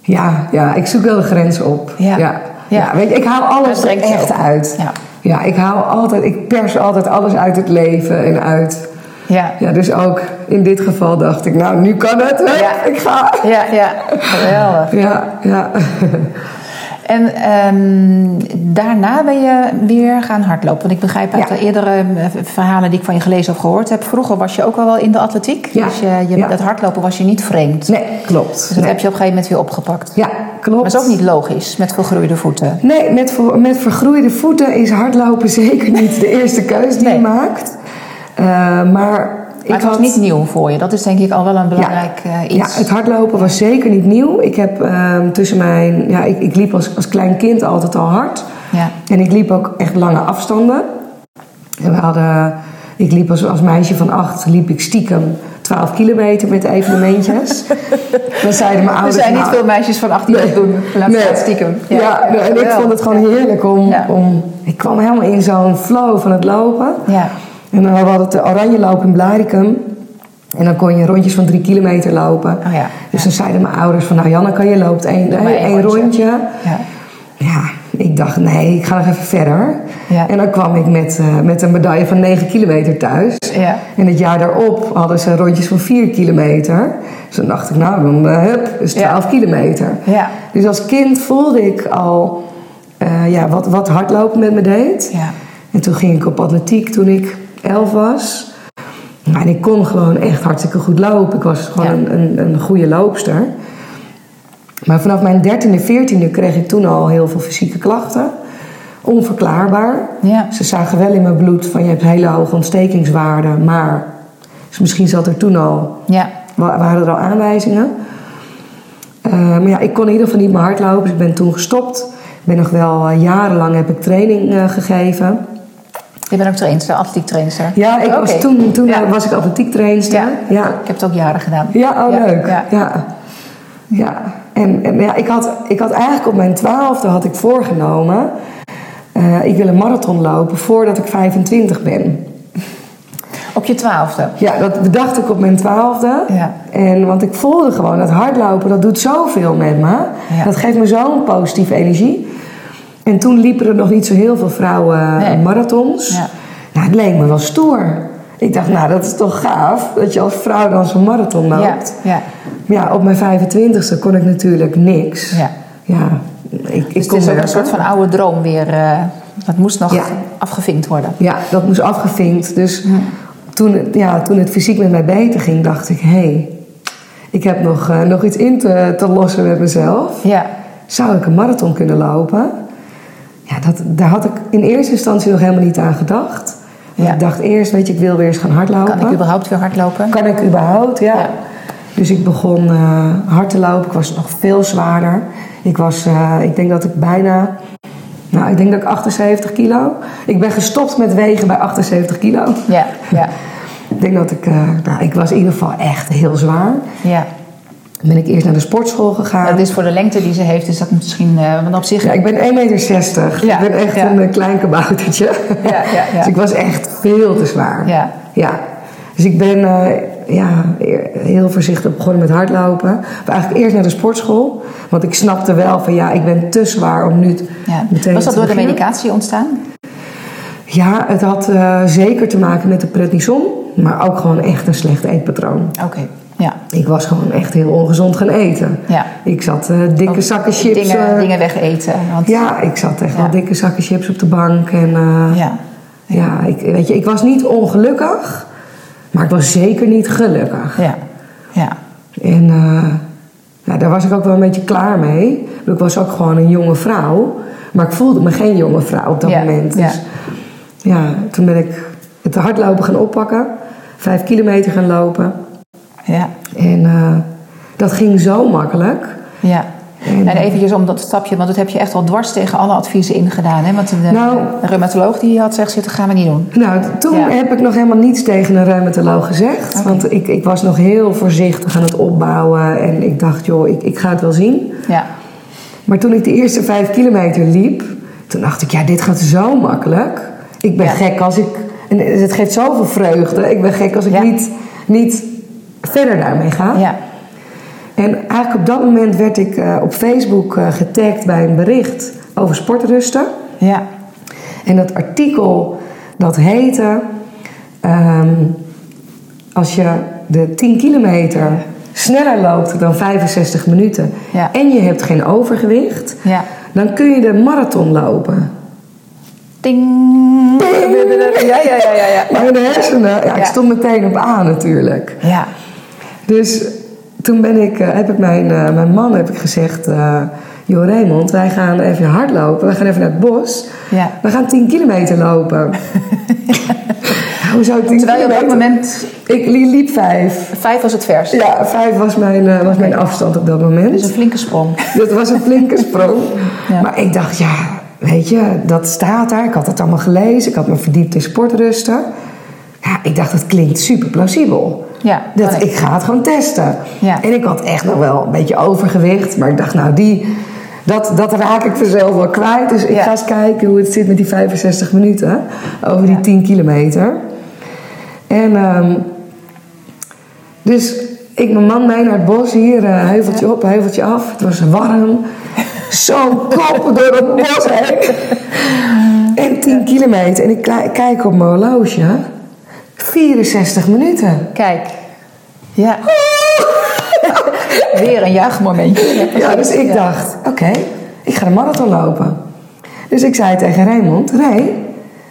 ja, ja, ik zoek wel de grens op.
Ja.
ja.
Ja.
Ja, weet je, ik haal alles
Dat
er
brengt je
echt
op.
uit.
Ja.
ja, ik haal altijd, ik pers altijd alles uit het leven en uit.
Ja.
Ja, dus ook in dit geval dacht ik, nou, nu kan het. hè.
Ja.
Ik ga.
Ja, ja. Geweldig.
Ja, ja.
En ehm, daarna ben je weer gaan hardlopen. Want ik begrijp uit
Ja.
de eerdere eh, verhalen die ik van je gelezen of gehoord heb... vroeger was je ook al wel in de atletiek.
Ja.
Dus je, je,
Ja.
dat hardlopen was je niet vreemd.
Nee, klopt.
Dus dat
Nee.
heb je op een gegeven moment weer opgepakt.
Ja, klopt.
Maar dat is ook niet logisch, met vergroeide voeten.
Nee, met, ver- met vergroeide voeten is hardlopen zeker niet de eerste keus die
Nee.
je maakt. Eh, maar ik
Maar het was
had...
niet nieuw voor je. Dat is denk ik al wel een belangrijk eh, iets.
Ja, het hardlopen was zeker niet nieuw. Ik heb ehm, tussen mijn... Ja, ik, ik liep als, als klein kind altijd al hard.
Ja.
En ik liep ook echt lange afstanden. En we hadden... Ik liep als, als meisje van acht, liep ik stiekem 12 kilometer met evenementjes. dan zeiden mijn
Er
ouders...
zijn niet
nou,
veel meisjes van 18 dat doen. Laat
nee.
staan stiekem.
Ja, nee, en ik vond het gewoon heerlijk om,
Ja.
om... Ik kwam helemaal in zo'n flow van het lopen.
Ja.
En dan hadden we het oranje loop in Blaricum. En dan kon je rondjes van drie kilometer lopen.
Oh ja.
Dus dan zeiden mijn ouders van... Nou Janneke, je loopt één,
maar
één,
één
rondje.
rondje. Ja.
Ja, ik dacht, nee, ik ga nog even verder.
Ja.
En dan kwam ik met, eh, met een medaille van 9 kilometer thuis.
Ja.
En het jaar daarop hadden ze rondjes van 4 kilometer. Dus dan dacht ik, nou, dan eh, hup, dus
Ja.
12 kilometer.
Ja.
Dus als kind voelde ik al eh, ja, wat, wat hardlopen met me deed.
Ja.
En toen ging ik op atletiek toen ik 11 was. Nou, En ik kon gewoon echt hartstikke goed lopen. Ik was gewoon
Ja.
een, een, een goede loopster. Maar vanaf mijn 13e, 14e kreeg ik toen al heel veel fysieke klachten. Onverklaarbaar.
Ja.
Ze zagen wel in mijn bloed van je hebt hele hoge ontstekingswaarden. Maar dus misschien zat er toen al,
Ja.
wa- waren er al aanwijzingen. Eh, maar ja, ik kon in ieder geval niet meer hardlopen. Dus ik ben toen gestopt. Ik ben nog wel eh, jarenlang heb ik training eh, gegeven.
Je bent ook trainster, atletiek trainster.
Ja, ik was
Oké.
toen, toen
Ja.
was ik atletiek trainster.
Ja.
ja.
Ik heb het ook jaren gedaan.
Ja, oh
Ja,
leuk. Ja.
ja.
ja. En, en ja, ik, had, ik had eigenlijk op mijn twaalfde had ik voorgenomen... eh, ik wil een marathon lopen voordat ik 25 ben.
Op je twaalfde.
Ja, dat bedacht ik op mijn twaalfde.
Ja.
En, want ik voelde gewoon dat hardlopen, dat doet zoveel met me.
Ja.
Dat geeft me zo'n positieve energie. En toen liepen er nog niet zo heel veel vrouwen
Nee.
marathons.
Ja.
Nou, het leek me wel stoer. Ik dacht, nou, dat is toch gaaf dat je als vrouw dan zo'n marathon loopt.
Ja, ja.
Maar ja, op mijn 25ste kon ik natuurlijk niks.
Ja.
Ja, ik, ik
Dus het
kon
is ook een
werken.
soort van oude droom weer. eh, dat moest nog
Ja.
afgevinkt worden.
Ja, dat moest afgevinkt. Dus toen, het- ja, toen het fysiek met mij beter ging, dacht ik... hé, hey, ik heb nog, eh, nog iets in te, te lossen met mezelf.
Ja.
Zou ik een marathon kunnen lopen? Ja, dat, daar had ik in eerste instantie nog helemaal niet aan gedacht. Want
Ja.
Ik dacht eerst, weet je, ik wil weer eens gaan hardlopen.
Kan ik überhaupt weer hardlopen?
Kan ik überhaupt, ja.
Ja.
Dus ik begon eh, hard te lopen. Ik was nog veel zwaarder. Ik was, eh, ik denk dat ik bijna, nou, ik denk dat ik 78 kilo. Ik ben gestopt met wegen bij 78 kilo.
Ja, ja,
Ik denk dat ik, eh, nou, ik was in ieder geval echt heel zwaar.
ja.
Dan ben ik eerst naar de sportschool gegaan.
Dat is voor de lengte die ze heeft, is dat misschien. eh, want op zich.
Ja, ik ben 1,60 meter.
Ja,
Ik ben echt
ja.
een eh, klein kaboutertje.
Ja, ja, ja.
Dus ik was echt veel te zwaar.
Ja.
Dus ik ben eh, ja, e- heel voorzichtig begonnen met hardlopen. Maar eigenlijk eerst naar de sportschool. Want ik snapte wel van ja, ik ben te zwaar om nu t-
ja.
meteen
Was dat
te
door de
beginnen.
medicatie ontstaan?
Ja, het had eh, zeker te maken met de prednison. Maar ook gewoon echt een slecht eetpatroon.
Oké, ja.
Ik was gewoon echt heel ongezond gaan eten.
Ja.
Ik zat eh, dikke
Ook
zakken chips.
Dingen,
eh,
dingen wegeten. Want,
Ja, ik zat echt
Ja.
wel dikke zakken chips op de bank. En eh, ja,
ja.
ik, weet je, ik was niet ongelukkig, maar ik was zeker niet gelukkig.
Ja. Ja.
En eh, ja, daar was ik ook wel een beetje klaar mee. Ik bedoel, Ik was ook gewoon een jonge vrouw, maar ik voelde me geen jonge vrouw op dat
Ja,
moment.
ja.
Dus ja, toen ben ik het hardlopen gaan oppakken, vijf kilometer gaan lopen.
ja.
En eh, dat ging zo makkelijk.
Ja.
Ehm.
En eventjes om dat stapje, want dat heb je echt al dwars tegen alle adviezen ingedaan. Hè? Want de
Nou.
de reumatoloog die had gezegd, dat gaan we niet doen.
Nou, toen
Ja.
heb ik nog helemaal niets tegen een reumatoloog gezegd.
Oké.
Want ik, ik was nog heel voorzichtig aan het opbouwen. En ik dacht, joh, ik, ik ga het wel zien.
Ja,
Maar toen ik de eerste vijf kilometer liep... toen dacht ik, ja, dit gaat zo makkelijk. Ik ben
Ja.
gek als ik... En het geeft zoveel vreugde. Ik ben gek als ik
Ja.
niet, niet verder daarmee ga.
ja,
En eigenlijk op dat moment werd ik eh, op Facebook eh, getagd bij een bericht over sportrusten.
ja,
En dat artikel dat heette. ehm, als je de 10 kilometer sneller loopt dan 65 minuten
Ja.
en je hebt geen overgewicht,
ja.
dan kun je de marathon lopen.
Ding! Ja, ja, ja, ja, ja.
Maar in de hersenen, ja, ik
Ja.
stond meteen op aan natuurlijk.
Ja,
Dus toen ben ik, eh, heb ik mijn, eh, mijn man heb ik gezegd... eh joh Raymond, wij gaan even hardlopen. We gaan even naar het bos.
Ja.
We gaan 10 kilometer lopen. Hoezo 10
terwijl je op dat
kilometer?
moment,
Ik li- liep vijf.
vijf was het vers.
Ja, vijf was mijn, eh, was mijn afstand op dat
Dus een
moment.
flinke sprong.
Dat was een flinke sprong.
Ja.
Maar ik dacht, ja, weet je, dat staat daar. Ik had het allemaal gelezen. Ik had me verdiept in sportrusten. Ja, ik dacht, dat klinkt super plausibel.
Ja,
dat
kan ik.
ik ga het gewoon testen.
Ja.
En ik had echt nog wel een beetje overgewicht. Maar ik dacht, nou, die, dat, dat raak ik vanzelf wel kwijt. Dus ik
Ja.
ga eens kijken hoe het zit met die 65 minuten over die
Ja.
10 kilometer. En ehm, dus ik mijn man mee naar het bos hier, eh, heuveltje op, heuveltje af. Het was warm. Zo kopen door het bos heen. En 10 kilometer. En ik kla- kijk op mijn horloge. 64 minuten.
Kijk. Ja. Weer een juichmomentje.
Ja, dus ik dacht, oké, ik ga de marathon lopen. Dus ik zei tegen Raymond, Ray,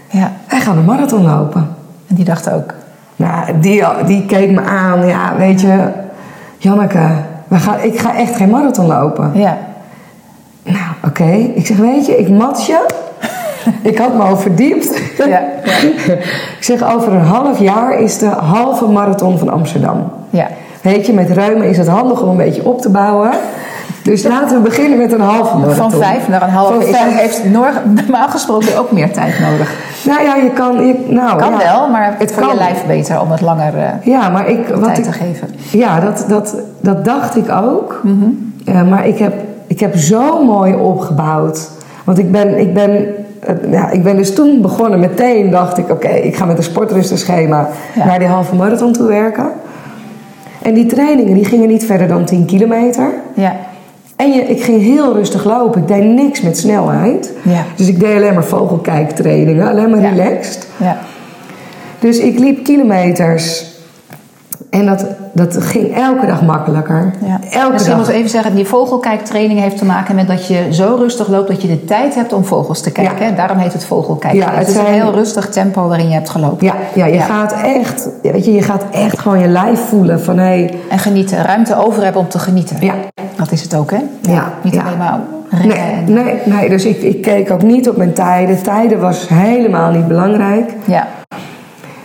Ja.
wij gaan de marathon lopen.
En die dacht ook.
Nou, die, die keek me aan, ja, weet je, Janneke, we gaan, ik ga echt geen marathon lopen.
Ja.
Nou, oké, ik zeg, weet je, ik mat je. Ik had me al verdiept.
Ja, ja.
Ik zeg, over een half jaar is de halve marathon van Amsterdam.
Ja.
Weet je, met reumen is het handig om een beetje op te bouwen. Dus laten we beginnen met een halve marathon.
Van vijf naar een half
Van
is,
vijf-
heeft noor- normaal gesproken ook meer tijd nodig.
Nou ja, je kan... Je, nou,
Kan
ja.
wel, maar het
Het
voor je
kan.
lijf beter om het langer eh,
Ja, maar ik... Wat
tijd
ik
te Mhm. geven.
ja, dat, dat, dat dacht ik ook. Ja, maar ik heb, ik heb zo mooi opgebouwd. Want ik ben, ik ben... eh, Ja, ik ben dus toen begonnen. Meteen dacht ik, oké, ik ga met een sportrustenschema
Ja.
naar die halve marathon toe werken. En die trainingen, die gingen niet verder dan 10 kilometer.
Ja.
En je, ik ging heel rustig lopen. Ik deed niks met snelheid.
Ja.
Dus ik deed alleen maar vogelkijktrainingen, alleen maar
Ja.
relaxed.
Ja.
Dus ik liep kilometers. En dat, dat ging elke dag makkelijker.
Ja.
Elke
Misschien
dag.
moeten we even zeggen, die vogelkijktraining heeft te maken met dat je zo rustig loopt dat je de tijd hebt om vogels te kijken.
Ja.
hè. Daarom heet het vogelkijken.
Ja,
het
het
is een
zijn-
heel rustig tempo waarin je hebt gelopen.
Ja, ja, je, Gaat echt, ja, weet je, je gaat echt gewoon je lijf voelen van hé.
En genieten, ruimte over hebben om te genieten.
ja,
Dat is het ook, hè?
ja,
Niet
ja.
alleen maar rennen.
Nee,
en-
nee, nee, dus ik, ik keek ook niet op mijn tijden. Tijden was helemaal niet belangrijk.
Ja.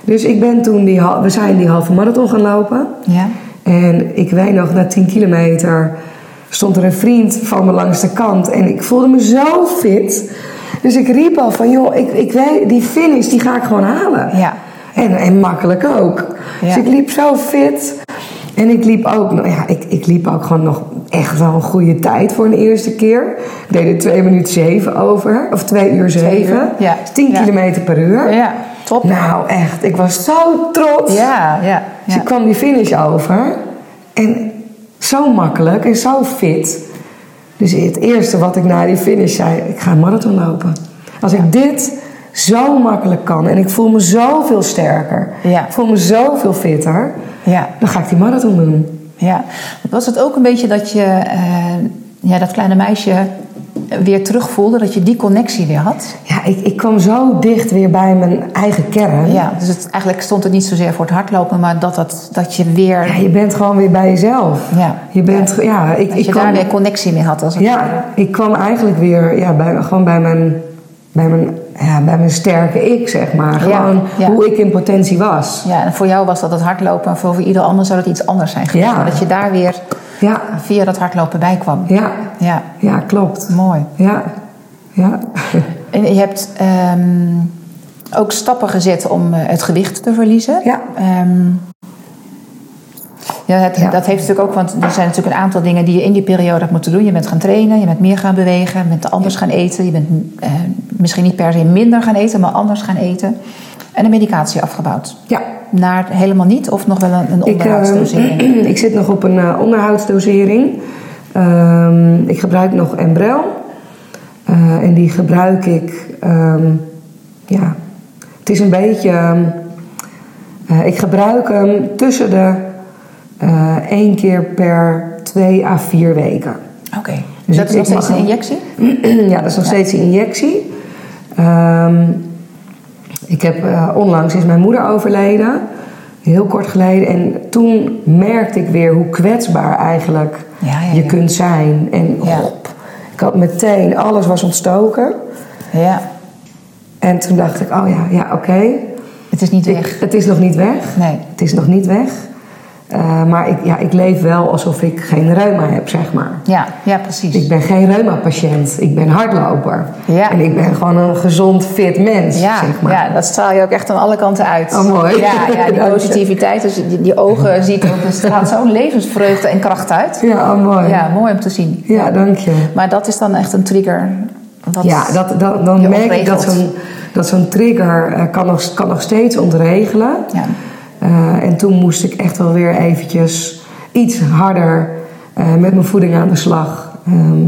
Dus ik ben toen die, hal- we zijn die halve marathon gaan lopen.
Ja.
En ik weet nog, na 10 kilometer stond er een vriend van me langs de kant. En ik voelde me zo fit. Dus ik riep al van, joh, ik, ik weet, die finish die ga ik gewoon halen.
Ja.
En, en makkelijk ook. Dus
Ja.
ik liep zo fit. En ik liep ook, nou ja, ik, ik liep ook gewoon nog echt wel een goede tijd voor een eerste keer. Ik deed er 2 minuten 7 over. Of 2 uur 7.
ja.
10
Ja.
kilometer per uur.
Ja, top.
Nou echt, ik was zo trots.
Ja, ja.
Dus
ja.
ik kwam die finish over. En zo makkelijk en zo fit. Dus het eerste wat ik na die finish zei, ik ga een marathon lopen. Als ik dit zo makkelijk kan en ik voel me zoveel sterker.
Ja.
Ik voel me zoveel fitter.
Ja.
Dan ga ik die marathon doen.
Ja, was het ook een beetje dat je eh, ja, dat kleine meisje weer terugvoelde, dat je die connectie weer had?
Ja, ik, ik kwam zo dicht weer bij mijn eigen kern.
Ja, dus het, eigenlijk stond het niet zozeer voor het hardlopen, maar dat, dat, dat je weer,
Ja, je bent gewoon weer bij jezelf.
Ja.
Je bent, ja, ik,
dat
ik
je
kwam-
daar weer connectie mee had. Als het ware.
Ja, ik kwam eigenlijk weer ja, bij, gewoon bij mijn, bij, mijn, ja, bij mijn sterke ik, zeg maar.
Ja,
Gewoon
ja.
hoe ik in potentie was.
ja, en voor jou was dat het hardlopen en voor voor ieder ander zou dat iets anders zijn geweest.
Ja.
Maar dat je daar weer
Ja,
via dat hardlopen bij kwam.
ja,
Ja,
ja klopt.
mooi.
Ja, ja.
En je hebt ehm, ook stappen gezet om eh, het gewicht te verliezen.
Ja.
Ehm, ja, het-
Ja.
dat heeft natuurlijk ook, want er zijn natuurlijk een aantal dingen die je in die periode hebt moeten doen. Je bent gaan trainen, je bent meer gaan bewegen, je bent anders gaan eten. Je bent eh, misschien niet per se minder gaan eten, maar anders gaan eten. En de medicatie afgebouwd.
ja.
Naar helemaal niet of nog wel een, een
Ik, eh,
onderhoudsdosering.
ik zit nog op een eh, onderhoudsdosering. Ehm, ik gebruik nog Embrel. Eh, en die gebruik ik, ehm, ja, het is een beetje, ehm, eh, ik gebruik hem tussen de eh één keer per twee à vier weken.
Oké.
Dus
dat
ik-
is nog
ik mag
steeds
hem.
een injectie?
ja, dat is nog steeds een injectie. Ehm, ik heb, eh, onlangs is mijn moeder overleden, heel kort geleden. En toen merkte ik weer hoe kwetsbaar eigenlijk
Ja, ja,
je
ja.
kunt zijn. En
Ja.
hop, ik had meteen, alles was ontstoken.
Ja.
En toen dacht ik, oh ja, ja oké.
Het is niet
Ik-
weg.
Het is nog niet weg.
Nee.
Het is nog niet weg. Eh, maar ik, ja, ik leef wel alsof ik geen reuma heb, zeg maar.
Ja, ja precies.
Ik ben geen reuma-patiënt. Ik ben hardloper.
Ja.
En ik ben gewoon een gezond, fit mens,
ja,
zeg maar.
ja, dat straal je ook echt aan alle kanten uit.
Oh, mooi.
Ja, ja die
Dank je.
positiviteit, dus die, die ogen zie ik ook. Dus er gaat zo'n levensvreugde en kracht uit.
Ja, oh, mooi.
Ja, mooi om te zien.
Ja, dank je.
Maar dat is dan echt een trigger. Wat
ja, dat, dat, dan
je
merk ik dat
ontregelt.
zo'n, dat zo'n trigger eh, kan, nog, kan nog steeds ontregelen.
Ja.
Eh, en toen moest ik echt wel weer eventjes iets harder eh, met mijn voeding aan de slag. ehm,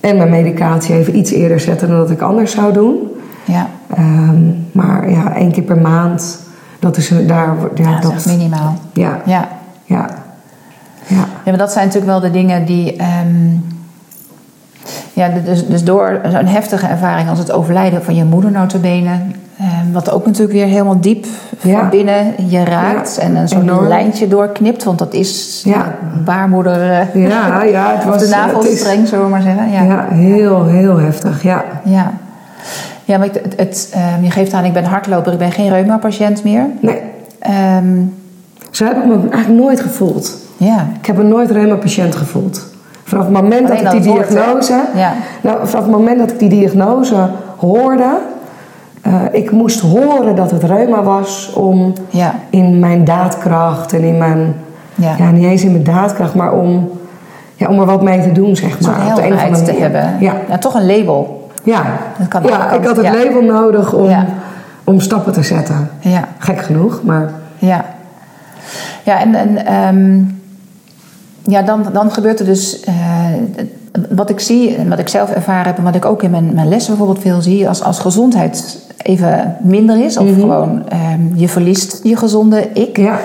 en mijn medicatie even iets eerder zetten dan dat ik anders zou doen.
Ja,
Ehm, maar ja, één keer per maand, dat is een- daar... Ja,
ja, dat is echt minimaal.
ja, ja,
Ja.
ja,
Ja, maar dat zijn natuurlijk wel de dingen die. ehm, ja, dus, dus door zo'n heftige ervaring als het overlijden van je moeder, notabene. ehm, wat ook natuurlijk weer helemaal diep
Ja.
van binnen je raakt.
Ja,
en een soort
enorm.
lijntje doorknipt, want dat is
Ja.
baarmoeder. eh,
Ja, ja, het
of
was- eh,
de
het
navelstreng, zullen we maar zeggen. Ja.
Ja, heel, heel heftig, ja.
ja. Ja, maar het, het, ehm, je geeft aan, ik ben hardloper, ik ben geen reuma-patiënt meer.
Nee,
Ehm,
zo heb ik me eigenlijk nooit gevoeld.
ja.
Ik heb me nooit reuma-patiënt gevoeld. Vanaf het moment dat
Alleen
ik
al
die
het woord, hè?
diagnose...
Ja.
nou, vanaf het moment dat ik die diagnose hoorde... eh, ik moest horen dat het reuma was om
Ja.
in mijn daadkracht en in mijn...
Ja.
niet eens in mijn daadkracht, maar om, ja, om er wat mee te doen, zeg
Een soort
maar. op de een of
helderheid
andere
te
manier.
hebben.
Ja,
ja, toch een label.
ja.
Dat kan aan
ja
alle
ik had het
kanten, ja.
label nodig om,
Ja.
om stappen te zetten.
Ja.
Gek genoeg, maar...
Ja, ja en, en ehm, ja, dan, dan gebeurt er dus. eh, wat ik zie en wat ik zelf ervaren heb, en wat ik ook in mijn, mijn lessen bijvoorbeeld veel zie, als, als gezondheid even minder is, of gewoon ehm, je verliest je gezonde ik,
Mhm. Ja.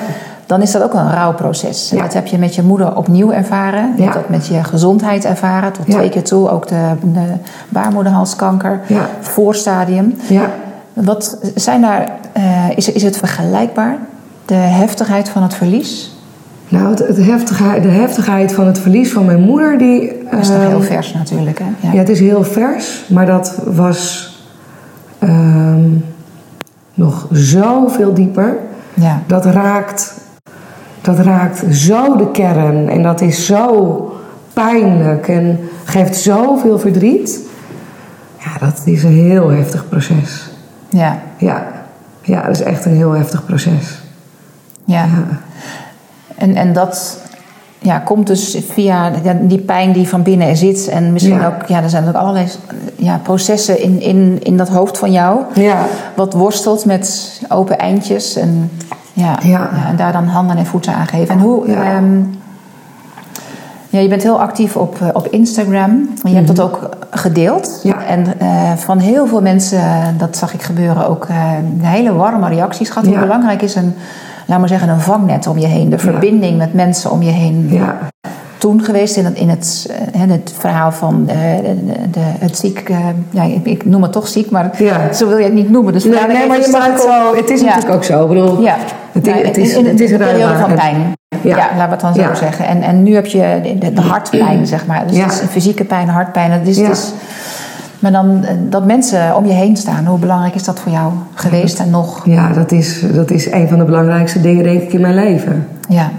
dan is dat ook een rouwproces. En
Ja.
dat heb je met je moeder opnieuw ervaren,
Ja.
je hebt dat met je gezondheid ervaren, tot
Ja.
twee keer toe, ook de, de baarmoederhalskanker,
Ja.
voorstadium.
Ja.
Wat zijn daar, eh, is, is het vergelijkbaar? De heftigheid van het verlies?
Nou, het, het heftige, de heftigheid van het verlies van mijn moeder, die...
Dat is nog
ehm,
heel vers natuurlijk. Hè? Ja.
Ja, het is heel vers, maar dat was ehm, nog zoveel dieper.
Ja.
Dat raakt, dat raakt zo de kern en dat is zo pijnlijk en geeft zoveel verdriet. Ja, dat is een heel heftig proces.
Ja.
Ja, ja dat is echt een heel heftig proces.
ja. En, en dat ja, komt dus via ja, die pijn die van binnen zit. En misschien
Ja.
ook, ja, er zijn natuurlijk allerlei ja, processen in, in, in dat hoofd van jou.
Ja.
Wat worstelt met open eindjes. En, ja,
Ja.
en daar dan handen en voeten aan geven. En hoe.
Ja.
ehm, ja, je bent heel actief op, eh, op Instagram. Je hebt dat ook gedeeld.
Mhm. Ja.
En eh, van heel veel mensen, eh, dat zag ik gebeuren, ook eh, hele warme reacties gehad. Hoe
Ja.
belangrijk is een, laat maar zeggen, een vangnet om je heen. De verbinding met mensen om je heen.
Ja,
Toen geweest in het, in het, eh, hè, het verhaal van eh, de, de- het ziek... eh, ja, ik, ik noem het toch ziek, maar
Ja.
zo wil je het niet noemen. Dus
Nee,
vandaar dat
nee,
ik
maar je
even
mag het
struikel.
zo. Het is
Ja.
natuurlijk ook zo. Ik bedoel,
Ja,
het,
Nou,
i- het is,
in, in
het is
de periode
ruimbaar.
van pijn.
Ja.
Ja. laten we het dan zo
Ja.
zeggen. En, en nu heb je de, de hartpijn, zeg maar. Dus
Ja.
het is een fysieke pijn, hartpijn. Dat is,
Ja.
het is, maar dan eh, dat mensen om je heen staan. Hoe belangrijk is dat voor jou geweest en nog?
Ja, dat is, dat is een van de belangrijkste dingen, denk ik, in mijn leven.
Ja,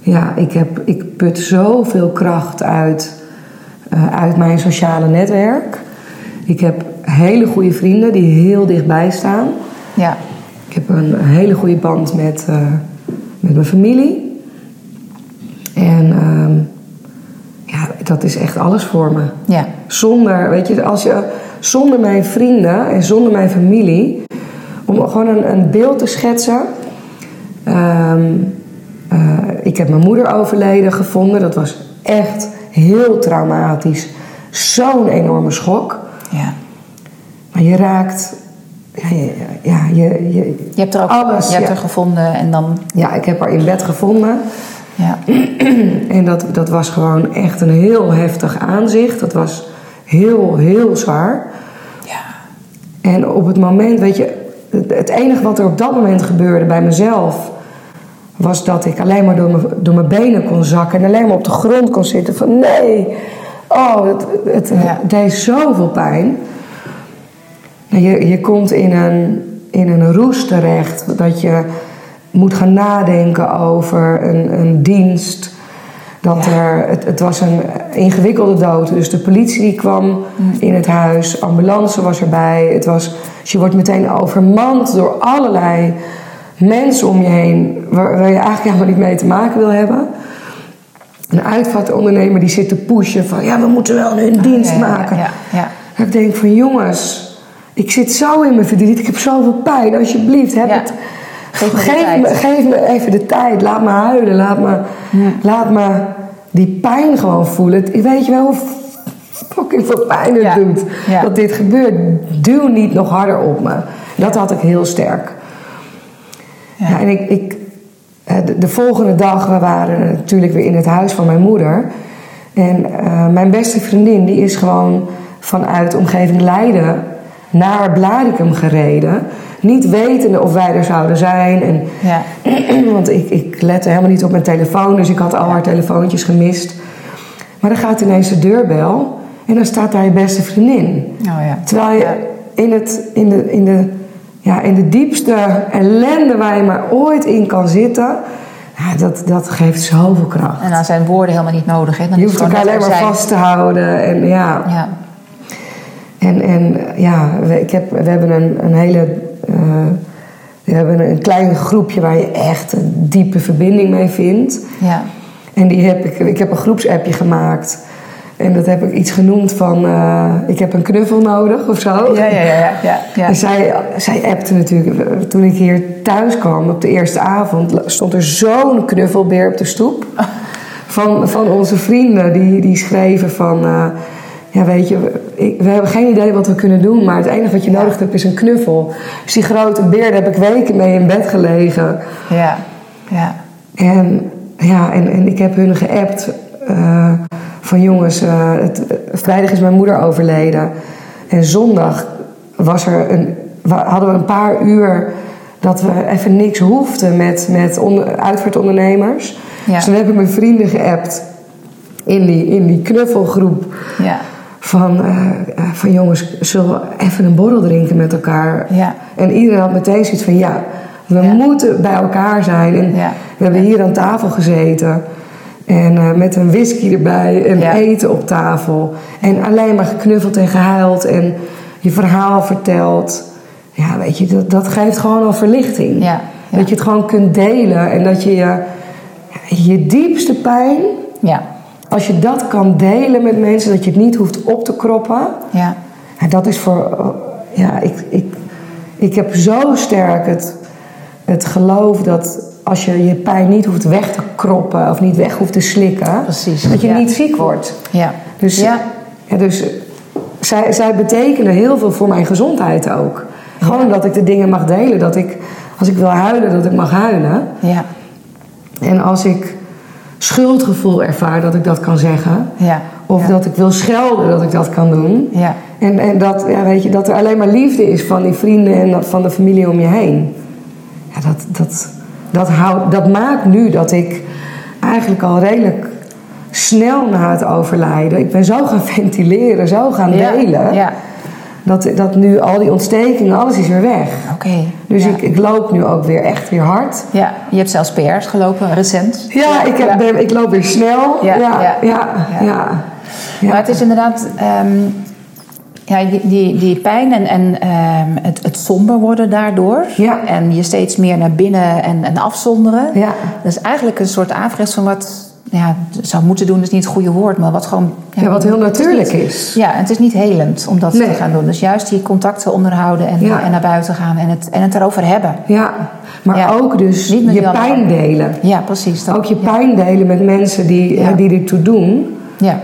Ja, ik, heb, ik put zoveel kracht uit, eh, uit mijn sociale netwerk. Ik heb hele goede vrienden die heel dichtbij staan.
ja,
Ik heb een hele goede band met, eh, met mijn familie. En ehm, ja, dat is echt alles voor me.
ja,
Zonder, weet je, als je, zonder mijn vrienden en zonder mijn familie. Om gewoon een, een beeld te schetsen. Ehm, eh, ik heb mijn moeder overleden gevonden. Dat was echt heel traumatisch. Zo'n enorme schok.
ja.
Maar je raakt. Ja, je, ja, je, je,
Je hebt er ook
Alles,
je hebt
ja.
er gevonden en dan...
ja, ik heb haar in bed gevonden.
Ja,
En dat, dat was gewoon echt een heel heftig aanzicht. Dat was heel, heel zwaar.
ja,
En op het moment, weet je, het- het enige wat er op dat moment gebeurde bij mezelf, was dat ik alleen maar door mijn, door mijn benen kon zakken en alleen maar op de grond kon zitten. Van nee, oh, het, het, het
Ja.
deed zoveel pijn. Nou, Je, je komt in een, in een roes terecht dat je moet gaan nadenken over een, een dienst. Dat er, het, het was een ingewikkelde dood. Dus de politie die kwam
Mm.
in het huis, ambulance was erbij. Het was, dus je wordt meteen overmand door allerlei mensen om je heen waar, waar je eigenlijk helemaal niet mee te maken wil hebben. Een uitvaartondernemer die zit te pushen van ja, we moeten wel nu een dienst
Ah, ja, ja,
maken.
ja, ja.
Dat ik denk van jongens, ik zit zo in mijn verdriet, ik heb zoveel pijn, alsjeblieft heb
Ja.
het.
Geef
Geef,
me de
me,
tijd.
geef me even de tijd, laat me huilen, laat me, laat me die pijn gewoon voelen. Het- Weet je wel hoe fucking veel pijn het
Ja.
doet
Ja.
dat dit gebeurt? Duw niet nog harder op me. Dat had ik heel sterk. Ja. en ik, ik, eh, de, de volgende dag, we waren natuurlijk weer in het huis van mijn moeder. En eh, mijn beste vriendin, die is gewoon vanuit de omgeving Leiden naar Blaricum gereden. Niet wetende of wij er zouden zijn. En,
Ja.
want ik, ik lette helemaal niet op mijn telefoon, dus ik had al haar telefoontjes gemist. Maar dan gaat ineens de deurbel en dan staat daar je beste vriendin.
Oh ja.
Terwijl je
Ja.
in, het, in, de, in, de, ja, in de diepste ellende waar je maar ooit in kan zitten, ja, dat, dat geeft zoveel kracht.
En dan zijn woorden helemaal niet nodig. Hè? Dan
Je
is
hoeft
het
elkaar
gewoon
alleen maar
net er
vast te houden. En ja,
zijn. Ja.
en, en ja we, ik heb, we hebben een, een hele. eh, we hebben een klein groepje waar je echt een diepe verbinding mee vindt.
Ja.
En die heb ik, ik heb een groepsappje gemaakt. En dat heb ik iets genoemd van. eh, ik heb een knuffel nodig of zo.
Ja, ja, ja, ja, ja, ja.
En zij, zij appte natuurlijk. Toen ik hier thuis kwam op de eerste avond, stond er zo'n knuffelbeer op de stoep. Van, van onze vrienden die, die schreven van. eh, ja, weet je, we- ik- we hebben geen idee wat we kunnen doen, maar het enige wat je nodig hebt is een knuffel. Dus die grote beer, daar heb ik weken mee in bed gelegen.
Ja. Ja.
En, ja, en, en ik heb hun geappt eh, van jongens, eh, het, vrijdag is mijn moeder overleden. En zondag was er een, wa- hadden we een paar uur dat we even niks hoefden met, met onder, uitvaartondernemers.
Ja.
Dus toen heb ik mijn vrienden geappt in die, in die knuffelgroep.
Ja.
Van, eh, eh, van jongens, zullen we even een borrel drinken met elkaar?
Ja.
En iedereen had meteen zoiets van ja, we
Ja.
moeten bij elkaar zijn. En
Ja.
we hebben hier aan tafel gezeten. En eh, met een whisky erbij en
Ja.
eten op tafel. En alleen maar geknuffeld en gehuild en je verhaal verteld. Ja, weet je, dat, dat geeft gewoon al verlichting.
Ja, ja.
Dat je het gewoon kunt delen en dat je je, je diepste pijn,
Ja.
als je dat kan delen met mensen, dat je het niet hoeft op te kroppen.
Ja.
Ja, dat is voor. Ja, ik, ik, ik heb zo sterk het, het geloof dat als je je pijn niet hoeft weg te kroppen of niet weg hoeft te slikken,
Precies,
dat je
ja.
niet ziek wordt.
Ja.
Dus,
ja.
ja, dus zij, zij betekenen heel veel voor mijn gezondheid ook. Gewoon dat ik de dingen mag delen, dat ik als ik wil huilen, dat ik mag huilen.
Ja.
En als ik schuldgevoel ervaar, dat ik dat kan zeggen.
Ja.
Of
Ja.
dat ik wil schelden, dat ik dat kan doen.
Ja.
En, en dat, ja, weet je, dat er alleen maar liefde is van die vrienden en dat- van de familie om je heen. Ja, dat, dat, dat, houdt dat maakt nu dat ik eigenlijk al redelijk snel na het overlijden... Ik ben zo gaan ventileren, zo gaan
Ja.
delen...
Ja.
Dat, dat nu al die ontstekingen, alles is weer weg.
Oké.
Dus
ja.
ik, ik loop nu ook weer echt weer hard.
Ja. Je hebt zelfs PR's gelopen, recent.
Ja, ik, heb, ben- ik loop weer snel.
Ja,
Ja, ja,
ja.
ja.
Ja.
Ja.
Maar het is inderdaad. ehm, ja, die, die, die pijn en, en ehm, het, het somber worden daardoor.
Ja.
En je steeds meer naar binnen en, en afzonderen.
Ja.
Dat is eigenlijk een soort averechts van wat ja, zou moeten doen, is niet het goede woord, maar wat gewoon.
Ja, wat heel natuurlijk is.
Ja, en het is niet helend om dat
Nee.
te gaan doen. Dus juist die contacten onderhouden en,
Ja.
en naar buiten gaan en het, en het erover hebben.
Ja, maar
Ja.
ook dus
Niet met die
je
andere
pijn delen.
Ja, precies. Dat,
Ook je
ja.
pijn delen met mensen die,
Ja.
eh, die ertoe doen.
Ja.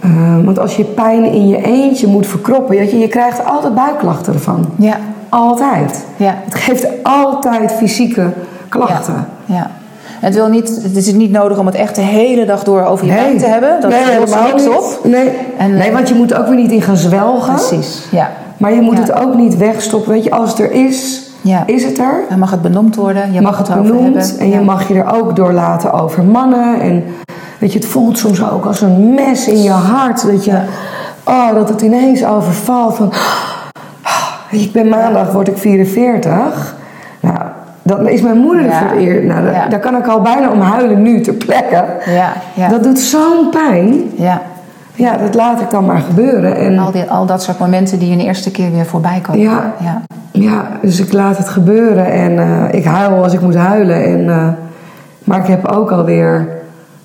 Eh, want als je pijn in je eentje moet verkroppen, weet je, je krijgt altijd buikklachten ervan.
Ja.
Altijd.
Ja.
Het geeft altijd fysieke klachten.
Ja. ja. Het, wil niet, het is niet nodig om het echt de hele dag door over je pijn te hebben. Dat
nee,
lost
helemaal
niks
niet.
op.
Nee.
En- eh,
nee, want je moet ook weer niet in gaan zwelgen.
Precies, ja.
Maar je moet
Ja.
het ook niet wegstoppen. Weet je, als het er is,
Ja.
is het er.
Dan mag het benoemd worden. Je
Je mag het
erover
benoemd
hebben.
en je
Ja.
mag je er ook door laten over mannen. En weet je, het voelt soms ook als een mes in je hart. Dat je, oh, dat het ineens "Ah, overvalt. Van, ik ben maandag, word ik 44. Nou, Dat is mijn moeder
Ja.
voor het eerst. Nou, dat-
Ja.
Daar kan ik al bijna om huilen nu ter plekke.
Ja, ja.
Dat doet zo'n pijn.
Ja.
Ja, dat laat ik dan maar gebeuren. En
Al, die, al dat soort momenten die je de eerste keer weer voorbij komen.
Ja.
ja.
Ja, dus ik laat het gebeuren en eh, ik huil als ik moet huilen. En, eh, maar ik heb ook alweer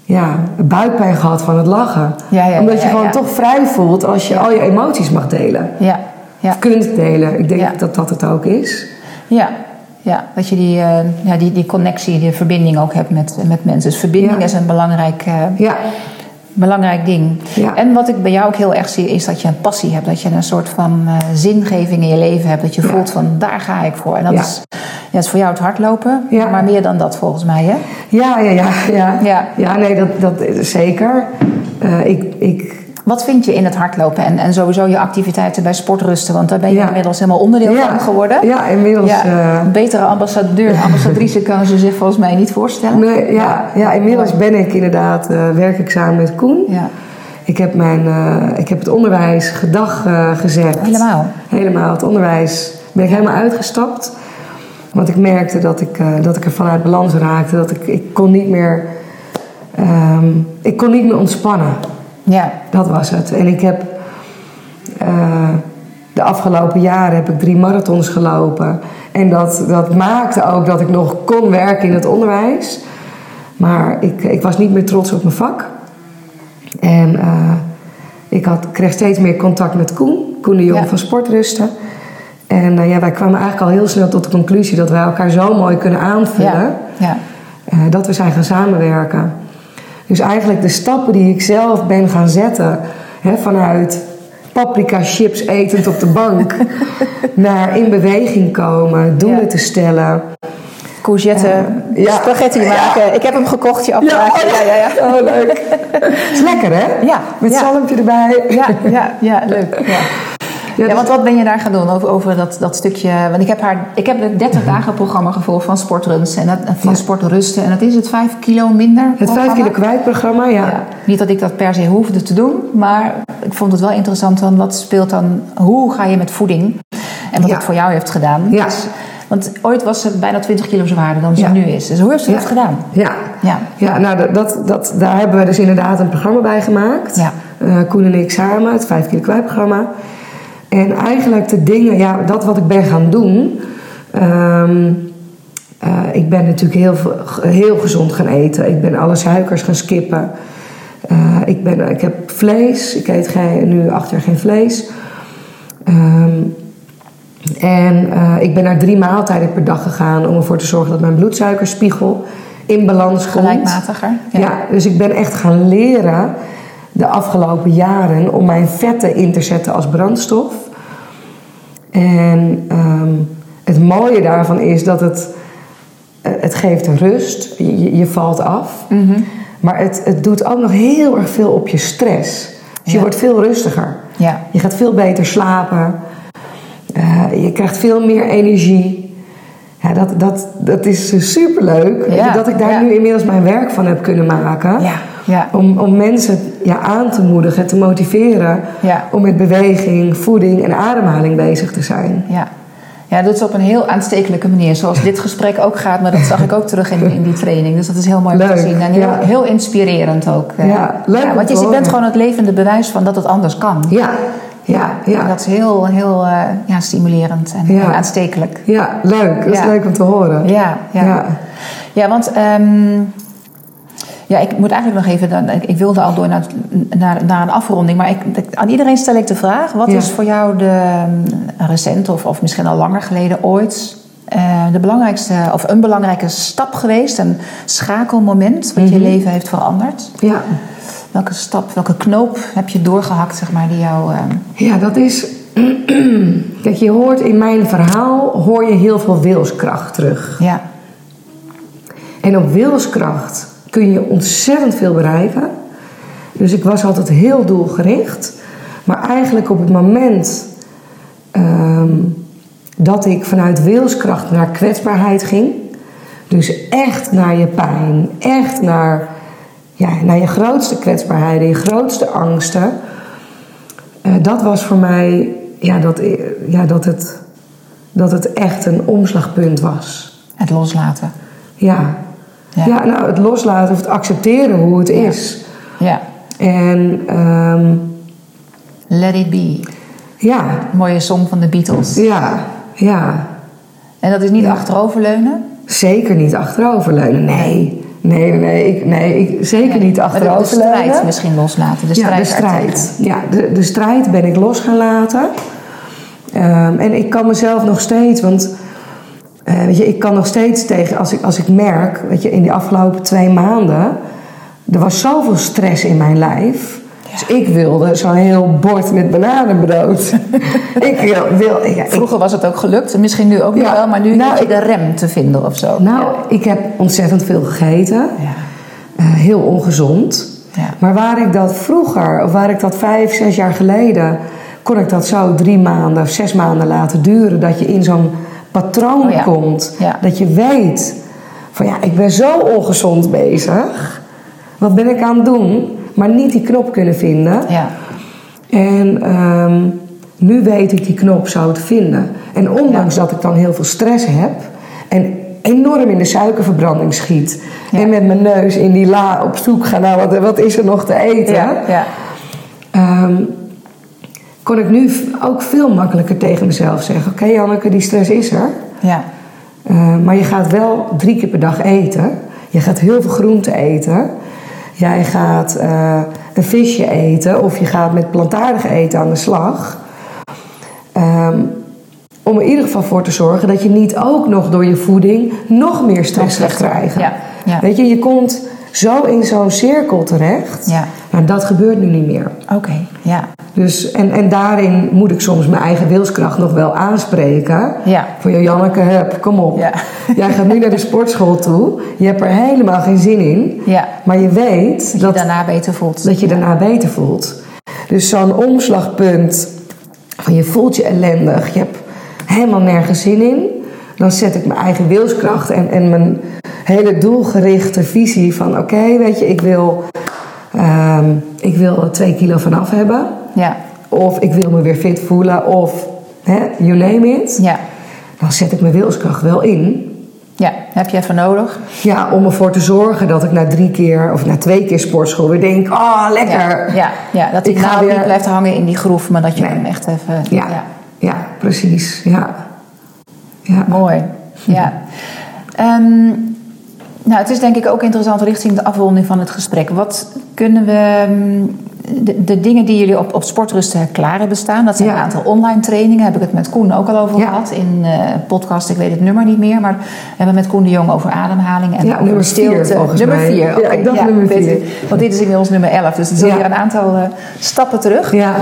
ja, buikpijn gehad van het lachen.
Ja, ja,
Omdat
ja,
je
ja,
gewoon
ja.
toch vrij voelt als je al je emoties mag delen.
Ja, ja,
Of kunt delen. Ik denk
Ja.
dat dat het ook is.
ja, ja. Dat je die, eh, ja, die, die connectie, die verbinding ook hebt met, met mensen. Dus verbinding
Ja.
is een belangrijk, eh,
Ja,
belangrijk ding.
Ja.
En wat ik bij jou ook heel erg zie, is dat je een passie hebt. Dat je een soort van eh, zingeving in je leven hebt. Dat je voelt van, daar ga ik voor. En dat
Ja.
is, ja, dat is voor jou het hardlopen.
Ja.
Maar meer dan dat volgens mij, hè?
ja, ja, ja. Ja,
Ja.
nee, dat, dat is zeker. Eh, ik, ik,
Wat vind je in het hardlopen en, en sowieso je activiteiten bij sportrusten? Want daar ben je
Ja.
inmiddels helemaal onderdeel
Ja.
van geworden.
Ja, inmiddels,
Ja,
eh,
een betere ambassadeur, ambassadrice kan ze zich volgens mij niet voorstellen.
nee, ja, ja, inmiddels ben ik inderdaad, eh, werk ik samen met Koen.
Ja.
Ik heb, mijn, eh, ik heb het onderwijs gedag eh, gezegd.
Helemaal?
Helemaal. Het onderwijs ben ik helemaal uitgestapt. Want ik merkte dat ik, eh, dat ik er vanuit balans raakte. Dat ik, ik kon niet meer... ehm, ik kon niet meer ontspannen.
Ja,
Dat was het. En ik heb... eh, de afgelopen jaren heb ik drie marathons gelopen. En dat, dat maakte ook dat ik nog kon werken in het onderwijs. Maar ik, ik was niet meer trots op mijn vak. En eh, ik had, kreeg steeds meer contact met Koen, Koen de Jong
Ja.
van Sportrusten. En eh, ja, wij kwamen eigenlijk al heel snel tot de conclusie dat wij elkaar zo mooi kunnen aanvullen.
ja, ja,
Eh, dat we zijn gaan samenwerken. Dus eigenlijk de stappen die ik zelf ben gaan zetten, hè, vanuit paprika chips etend op de bank, naar in beweging komen, doelen
Ja.
te stellen.
Courgette,
Ja.
spaghetti maken. Ik heb hem gekocht, je afdraag. Ja, ja, ja.
Oh, leuk. is lekker, hè?
Ja,
Met
ja.
zalmpje erbij.
Ja, ja, ja, leuk. Ja. Ja,
dus-
want wat ben je daar gaan doen over, over dat, dat stukje? Want ik heb haar, ik heb het 30 dagen programma gevolgd van sportruns en dat, van
Mhm. Ja.
sportrusten en dat is het 5 kilo minder.
Het 5
programma?
kilo kwijtprogramma, ja.
Ja, niet dat ik dat per se hoefde te doen, maar ik vond het wel interessant van wat speelt dan, hoe ga je met voeding en wat
Ja.
het voor jou heeft gedaan.
Ja.
Dus- want ooit was ze bijna 20 kilo zwaarder dan ze
Ja.
nu is. Dus hoe heeft ze
Ja.
dat gedaan?
Ja.
Ja.
Ja, nou, dat- dat, dat, daar hebben we dus inderdaad een programma bij gemaakt.
Ja.
Eh, Koen en ik samen, het 5 kilo kwijt programma. En eigenlijk de dingen, ja, dat wat ik ben gaan doen. ehm, eh, ik ben natuurlijk heel, veel- heel gezond gaan eten. Ik ben alle suikers gaan skippen. Eh, ik, ben, ik heb vlees. Ik eet geen, nu acht jaar geen vlees. Ehm, en eh, ik ben naar drie maaltijden per dag gegaan om ervoor te zorgen dat mijn bloedsuikerspiegel in balans komt.
Gelijkmatiger, ja.
Ja. dus ik ben echt gaan leren de afgelopen jaren om mijn vetten in te zetten als brandstof. En ehm, het mooie daarvan is dat het, eh, het geeft rust, je, je- je valt af. Maar het, het doet ook nog heel erg veel op je stress. Dus je
Ja.
wordt veel rustiger.
Ja.
Je gaat veel beter slapen. Eh, je krijgt veel meer energie. Ja, dat, dat, dat is eh, superleuk. weet je,
Ja,
Dat ik daar
ja.
nu inmiddels mijn werk van heb kunnen maken.
Ja, ja.
Om, om mensen ja, aan te moedigen, te motiveren.
Ja.
Om met beweging, voeding en ademhaling bezig te zijn.
Ja. Ja, dat is op een heel aanstekelijke manier. Zoals dit gesprek ook gaat, maar dat zag ik ook terug in, in die training. Dus dat is heel mooi om te
Leuk,
zien. En heel,
ja.
heel inspirerend ook. eh.
Ja, leuk om
want je
te
ziet-
horen.
bent gewoon het levende bewijs van dat het anders kan.
Ja, ja, ja.
En Dat is heel, heel eh, ja, stimulerend en,
Ja.
en aanstekelijk.
Ja, leuk. Dat is
Ja.
leuk om te horen.
Ja, ja. ja.
Ja.
want ehm, ja, ik moet eigenlijk nog even, dan- ik- ik wilde al door naar, naar, naar een afronding, maar ik, ik- aan iedereen stel ik de vraag: wat
Ja.
is voor jou de ehm, recente of, of misschien al langer geleden ooit eh, de belangrijkste of een belangrijke stap geweest, een schakelmoment wat
Mhm.
je leven heeft veranderd?
ja.
Welke stap, welke knoop heb je doorgehakt, zeg maar, die jou. ehm,
Ja, dat is. Kijk, je hoort in mijn verhaal hoor je heel veel wilskracht terug.
ja,
En op wilskracht kun je ontzettend veel bereiken. Dus ik was altijd heel doelgericht. Maar eigenlijk op het moment ehm, dat ik vanuit wilskracht naar kwetsbaarheid ging. Dus echt naar je pijn, echt naar, ja, naar je grootste kwetsbaarheden, je grootste angsten. Eh, dat was voor eh, mij ja, dat, ja, dat, het, dat het echt een omslagpunt was.
Het loslaten.
Ja.
Ja.
Ja. nou, het loslaten of het accepteren hoe het is.
Ja.
En ehm,
Let it be.
ja,
Mooie song van de Beatles.
ja, ja.
En dat is niet achteroverleunen.
Zeker niet achteroverleunen. Nee, nee, nee, nee, ik, nee ik, zeker niet
Maar de- de
achteroverleunen.
strijd misschien loslaten. De strijd.
ja, de
ertegen.
strijd. Ja, de, de strijd ben ik los gaan laten. Ehm, en ik kan mezelf nog steeds, want eh, weet je, ik kan nog steeds tegen, als ik, als ik merk, weet je, in die afgelopen twee maanden, er was zoveel stress in mijn lijf. Dus ik wilde zo'n heel bord met bananenbrood. ik wil, wil ja, ik-
Vroeger was het ook gelukt. en Misschien nu ook nog
Ja.
wel. Maar nu
Nou,
heb je
ik-
de rem te vinden of zo.
nou, ik heb ontzettend veel gegeten.
Ja.
Eh, heel ongezond.
Ja.
Maar waar ik dat vroeger, of waar ik dat vijf, zes jaar geleden, kon ik dat zo drie maanden of zes maanden laten duren. Dat je in zo'n patroon
Oh ja.
komt.
Ja.
Dat je weet van ja, ik ben zo ongezond bezig. Wat ben ik aan het doen? Maar niet die knop kunnen vinden.
Ja.
En ehm, nu weet ik die knop zo te vinden. En ondanks dat ik dan heel veel stress heb en enorm in de suikerverbranding schiet
Ja.
en met mijn neus in die la op zoek ga naar wat, wat is er nog te eten,
Ja. ja.
ehm, kon ik nu v- ook veel makkelijker tegen mezelf zeggen: Oké, Janneke, die stress is er.
ja.
Eh, maar je gaat wel drie keer per dag eten. Je gaat heel veel groente eten. Jij gaat eh, een visje eten of je gaat met plantaardig eten aan de slag. Ehm, om er in ieder geval voor te zorgen dat je niet ook nog door je voeding nog meer stress
Nog
gaat
slechter.
krijgen.
Ja, ja.
Weet je, je komt zo in zo'n cirkel terecht.
Ja.
Nou, dat gebeurt nu niet meer.
Oké. Ja.
Dus, en, en daarin moet ik soms mijn eigen wilskracht nog wel aanspreken.
Ja.
Van, joh, Janneke, hup, kom op.
Ja.
Jij gaat nu naar de sportschool toe. Je hebt er helemaal geen zin in.
Ja.
Maar je weet
Dat je
dat,
daarna beter voelt.
dat je daarna beter voelt. Dus zo'n omslagpunt van je voelt je ellendig. Je hebt helemaal nergens zin in. Dan zet ik mijn eigen wilskracht en, en mijn hele doelgerichte visie van... Oké, weet je, ik wil, ehm, ik wil er twee kilo vanaf hebben.
Ja.
Of ik wil me weer fit voelen. Of hè, you name it.
Ja.
Dan zet ik mijn wilskracht wel in.
Ja. Heb je even nodig.
Ja, om ervoor te zorgen dat ik na drie keer of na twee keer sportschool weer denk... Oh, lekker.
Ja, ja, ja, dat die
Ik ga
naald niet
weer-
blijft hangen in die groef, maar dat je
Nee.
hem echt even...
Ja, ja. precies. Ja. Ja.
Mooi, ja. Ehm, nou, het is denk ik ook interessant richting de afronding van het gesprek. Wat kunnen we... ehm, De, de dingen die jullie op, op sportrusten klaar hebben staan... dat zijn
Ja.
een aantal online trainingen. Heb ik het met Koen ook al over
Ja.
gehad. In eh, podcast, ik weet het nummer niet meer. Maar we hebben het met Koen de Jong over ademhaling. En
Ja,
over
nummer vier,
stilte.
volgens
nummer
mij.
4,
Ja, ik dacht nummer vier.
Want dit is inmiddels nummer 11. Dus het is
Ja.
weer een aantal eh, stappen terug.
Ja.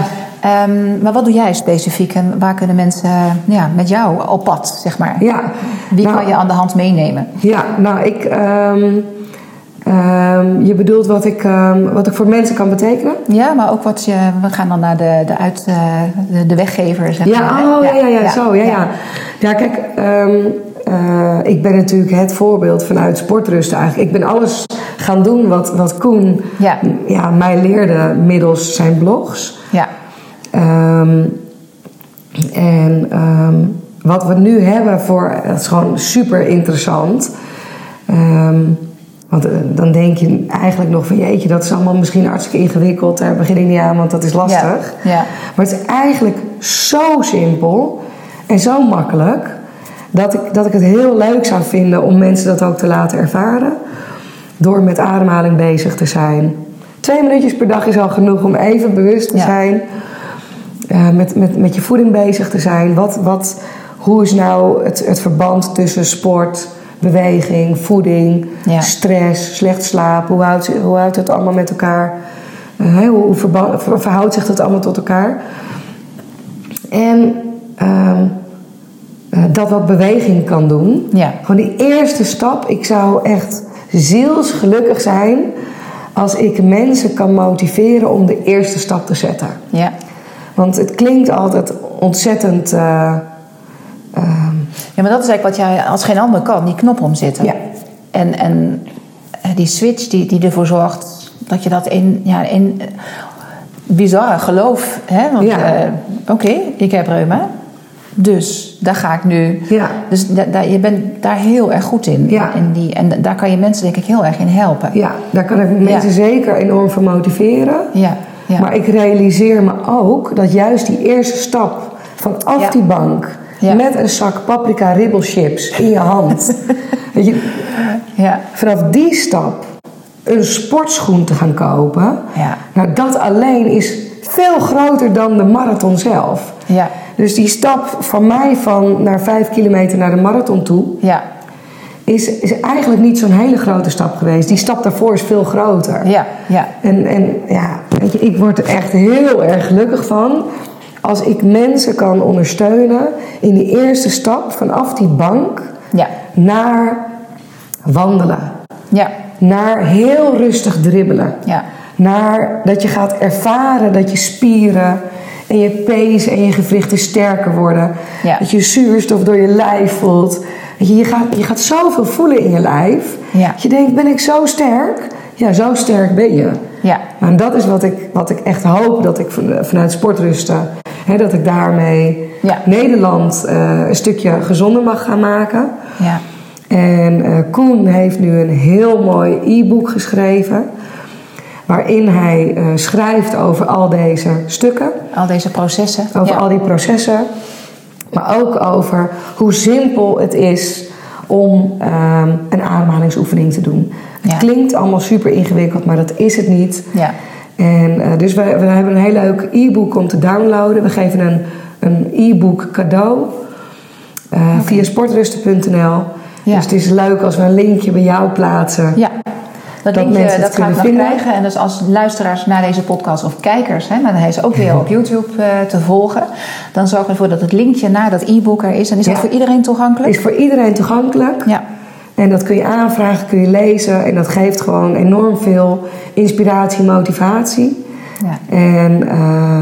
Ehm, maar wat doe jij specifiek en waar kunnen mensen eh, ja, met jou op pad, zeg maar?
Ja.
Wie
Nou,
kan je aan de hand meenemen?
Ja, nou, ik... ehm, ehm, je bedoelt wat ik, ehm, wat ik voor mensen kan betekenen?
Ja, maar ook wat je. We gaan dan naar de, de, uit, eh, de, de weggever, zeg maar. hè?
Ja, oh, ja, ja, ja, zo, ja, ja. Ja, kijk, ehm, eh, ik ben natuurlijk het voorbeeld vanuit sportrust eigenlijk. Ik ben alles gaan doen wat, wat Koen
Ja.
ja, mij leerde middels zijn blogs.
Ja,
Ehm, en ehm, wat we nu hebben voor, dat is gewoon super interessant. Ehm, want eh, dan denk je eigenlijk nog van jeetje, dat is allemaal misschien hartstikke ingewikkeld. Daar begin ik niet aan, want dat is lastig.
Ja, ja.
Maar het is eigenlijk zo simpel en zo makkelijk. Dat ik, dat ik het heel leuk zou vinden om mensen dat ook te laten ervaren. Door met ademhaling bezig te zijn. Twee minuutjes per dag is al genoeg om even bewust te
Ja.
zijn. Eh, met, met, met je voeding bezig te zijn. Wat, wat, hoe is nou het, het verband tussen sport, beweging, voeding,
Ja.
stress, slecht slapen? Hoe houdt, hoe houdt het allemaal met elkaar? Eh, hè, hoe hoe verba- ver- verhoudt zich dat allemaal tot elkaar? En ehm, eh, dat wat beweging kan doen.
Ja.
Gewoon die eerste stap. Ik zou echt zielsgelukkig zijn als ik mensen kan motiveren om de eerste stap te zetten.
ja.
Want het klinkt altijd ontzettend. eh, ehm,
Ja, maar dat is eigenlijk wat jij als geen ander kan, die knop omzetten.
Ja.
En, en eh, die switch die, die ervoor zorgt dat je dat in, ja, in eh, bizarre geloof. Hè? Want
Ja.
eh, oké, ik heb reuma. Dus daar ga ik nu.
Ja.
Dus da- da- je bent daar heel erg goed in.
Ja.
in die, en daar kan je mensen denk ik heel erg in helpen.
Ja, daar kan ik mensen zeker enorm voor motiveren.
Ja, ja.
Maar ik realiseer me ook dat juist die eerste stap vanaf
Ja.
die bank
Ja.
met een zak paprika ribbelchips in je hand. weet je,
ja.
vanaf die stap een sportschoen te gaan kopen.
Ja.
Nou, dat alleen is veel groter dan de marathon zelf.
Ja.
Dus die stap van mij van naar vijf kilometer naar de marathon toe
Ja,
is, is eigenlijk niet zo'n hele grote stap geweest. Die stap daarvoor is veel groter.
ja, ja.
En, en ja, weet je, ik word er echt heel erg gelukkig van als ik mensen kan ondersteunen in die eerste stap vanaf die bank
Ja.
naar wandelen.
Ja,
Naar heel rustig dribbelen.
Ja.
Naar dat je gaat ervaren dat je spieren en je pees en je gewrichten sterker worden.
Ja.
Dat je zuurstof door je lijf voelt. Weet je, je, gaat, je gaat zoveel voelen in je lijf.
Ja.
Dat je denkt, ben ik zo sterk? Ja, zo sterk ben je.
Ja.
Nou, en dat is wat ik, wat ik echt hoop dat ik van- vanuit sportrusten... Hè, dat ik daarmee
Ja.
Nederland eh, een stukje gezonder mag gaan maken.
ja,
En eh, Koen heeft nu een heel mooi e-book geschreven. Waarin hij eh, schrijft over al deze stukken.
al deze processen.
Over
ja.
al die processen. Maar ook over hoe simpel het is om ehm, een ademhalingsoefening te doen.
Ja.
Het klinkt allemaal super ingewikkeld, maar dat is het niet.
Ja.
En, eh, dus we, we hebben een heel leuk e-book om te downloaden. We geven een, een e-book cadeau eh, via sportrusten.nl.
Ja.
Dus het is leuk als we een linkje bij jou plaatsen.
Ja. Dat,
Dat
linkje,
mensen het
dat ga ik
kunnen
nog
vinden.
krijgen. En dus als luisteraars naar deze podcast of kijkers, hè, maar hij is ook
Mhm.
weer op YouTube eh, te volgen. Dan zorg ik ervoor dat het linkje naar dat e-book er is. En is
Ja.
dat voor iedereen toegankelijk?
Is voor iedereen toegankelijk.
Ja.
En dat kun je aanvragen, kun je lezen. En dat geeft gewoon enorm veel inspiratie, motivatie.
Ja.
En eh,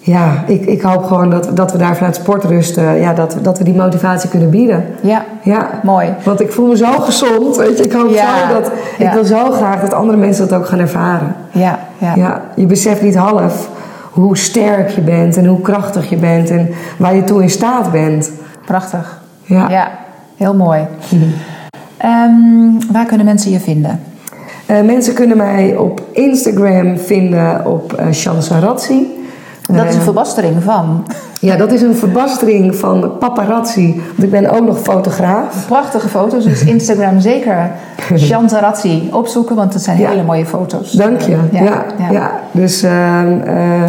ja, ik, ik hoop gewoon dat, dat we daar vanuit sportrusten, ja, dat, dat we die motivatie kunnen bieden.
Ja.
Ja,
Mooi.
Want ik voel me zo gezond. Weet je, ik hoop
Ja,
zo dat.
ja.
Ik wil zo graag dat andere mensen dat ook gaan ervaren.
Ja, ja.
Ja, je beseft niet half hoe sterk je bent en hoe krachtig je bent en waar je toe in staat bent.
Prachtig.
Ja.
heel mooi. Ehm, waar kunnen mensen je vinden?
Eh, mensen kunnen mij op Instagram vinden op eh Chansarazzi.
Dat
Eh.
is een verbastering van.
Ja, dat is een verbastering van paparazzi. Want ik ben ook nog fotograaf.
Prachtige foto's, dus Instagram zeker. Chantarazzi opzoeken, want het zijn
Ja.
hele mooie foto's.
Dank je. Ja, ja,
ja.
dus ehm eh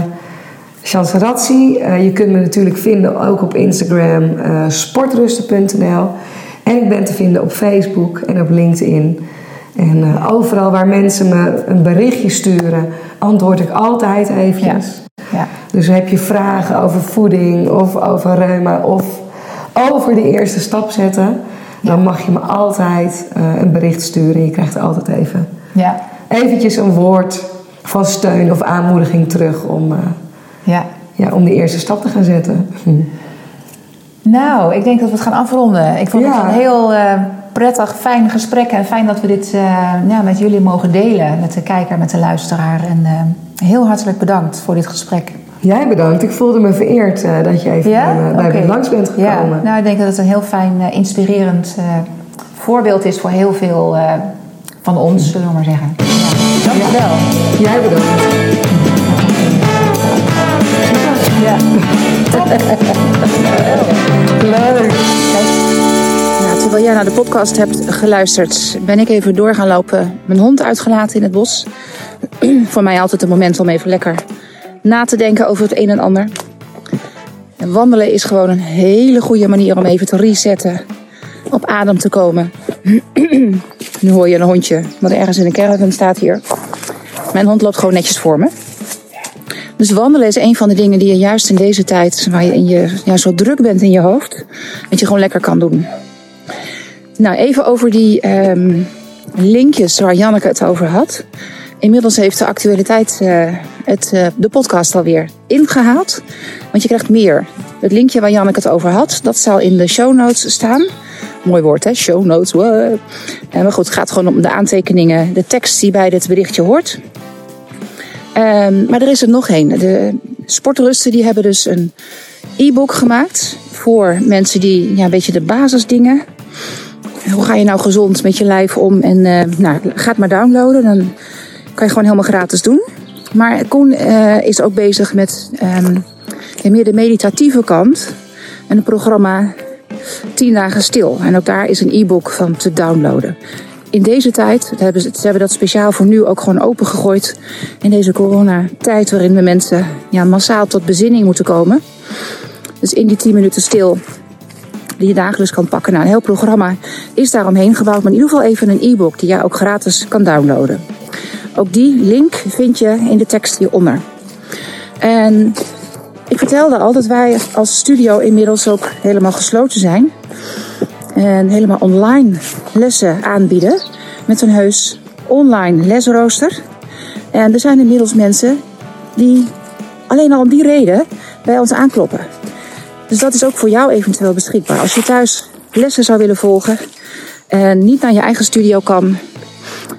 Chansarazzi. Eh, je kunt me natuurlijk vinden ook op Instagram, eh, sportrusten.nl. En ik ben te vinden op Facebook en op LinkedIn. En eh, overal waar mensen me een berichtje sturen, antwoord ik altijd eventjes.
Ja.
Dus heb je vragen over voeding of over reuma of over die eerste stap zetten, dan mag je me altijd eh, een bericht sturen. Je krijgt altijd even
Ja.
eventjes een woord van steun of aanmoediging terug om, eh,
ja.
ja, om die eerste stap te gaan zetten. Hm.
Nou, ik denk dat we het gaan afronden. Ik vond het
Ja.
een heel eh, prettig, fijn gesprek. En fijn dat we dit eh, ja, met jullie mogen delen. Met de kijker, met de luisteraar. En eh, heel hartelijk bedankt voor dit gesprek.
Jij bedankt. Ik voelde me vereerd eh, dat je even bij, me, bij
Oké.
me langs bent gekomen.
Ja. Nou, ik denk dat het een heel fijn, eh, inspirerend eh, voorbeeld is voor heel veel eh, van ons, zullen we maar zeggen. Ja. Dankjewel.
Jij bedankt.
Ja.
Leuk.
Ja, Nou, terwijl jij naar de podcast hebt geluisterd, ben ik even door gaan lopen. Mijn hond uitgelaten in het bos. Voor mij altijd een moment om even lekker na te denken over het een en ander. En wandelen is gewoon een hele goede manier om even te resetten. Op adem te komen. nu hoor je een hondje, wat ergens in een caravan staat hier. Mijn hond loopt gewoon netjes voor me. Dus wandelen is een van de dingen die je juist in deze tijd, waar je, in je ja, zo druk bent in je hoofd, dat je gewoon lekker kan doen. Nou, even over die ehm, linkjes waar Janneke het over had. Inmiddels heeft de actualiteit eh, het, eh, de podcast alweer ingehaald. Want je krijgt meer. Het linkje waar Janneke het over had, dat zal in de show notes staan. Mooi woord, hè? Show notes. wow. Eh, maar goed, het gaat gewoon om de aantekeningen, de tekst die bij dit berichtje hoort. Ehm, maar er is er nog één. De sportrusten die hebben dus een e-book gemaakt voor mensen die ja, een beetje de basisdingen. Hoe ga je nou gezond met je lijf om? En eh, nou, ga het maar downloaden. Dan kan je gewoon helemaal gratis doen. Maar Koen eh, is ook bezig met ehm, ja, meer de meditatieve kant. En een programma 10 dagen stil. En ook daar is een e-book van te downloaden. In deze tijd, dat hebben ze, ze hebben dat speciaal voor nu ook gewoon opengegooid. In deze coronatijd waarin we mensen ja, massaal tot bezinning moeten komen. Dus in die 10 minuten stil die je dagelijks kan pakken. Nou, een heel programma is daaromheen gebouwd. Maar in ieder geval even een e-book die jij ook gratis kan downloaden. Ook die link vind je in de tekst hieronder. En ik vertelde al dat wij als studio inmiddels ook helemaal gesloten zijn. En helemaal online lessen aanbieden. Met een heus online lesrooster. En er zijn inmiddels mensen die alleen al om die reden bij ons aankloppen. Dus dat is ook voor jou eventueel beschikbaar. Als je thuis lessen zou willen volgen en niet naar je eigen studio kan.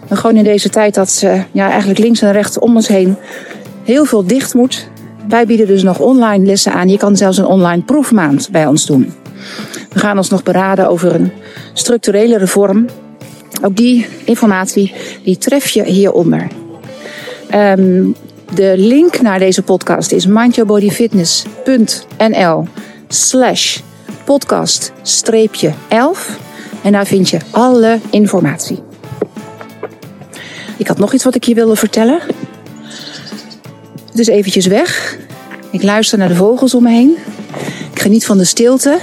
En gewoon in deze tijd dat ze ja, eigenlijk links en rechts om ons heen heel veel dicht moet. Wij bieden dus nog online lessen aan. Je kan zelfs een online proefmaand bij ons doen. We gaan ons nog beraden over een structurele reform. Ook die informatie die tref je hieronder. Ehm, de link naar deze podcast is mindyourbodyfitness.nl slash podcast 11. En daar vind je alle informatie. Ik had nog iets wat ik je wilde vertellen. Het is eventjes weg. Ik luister naar de vogels om me heen. Ik geniet van de stilte.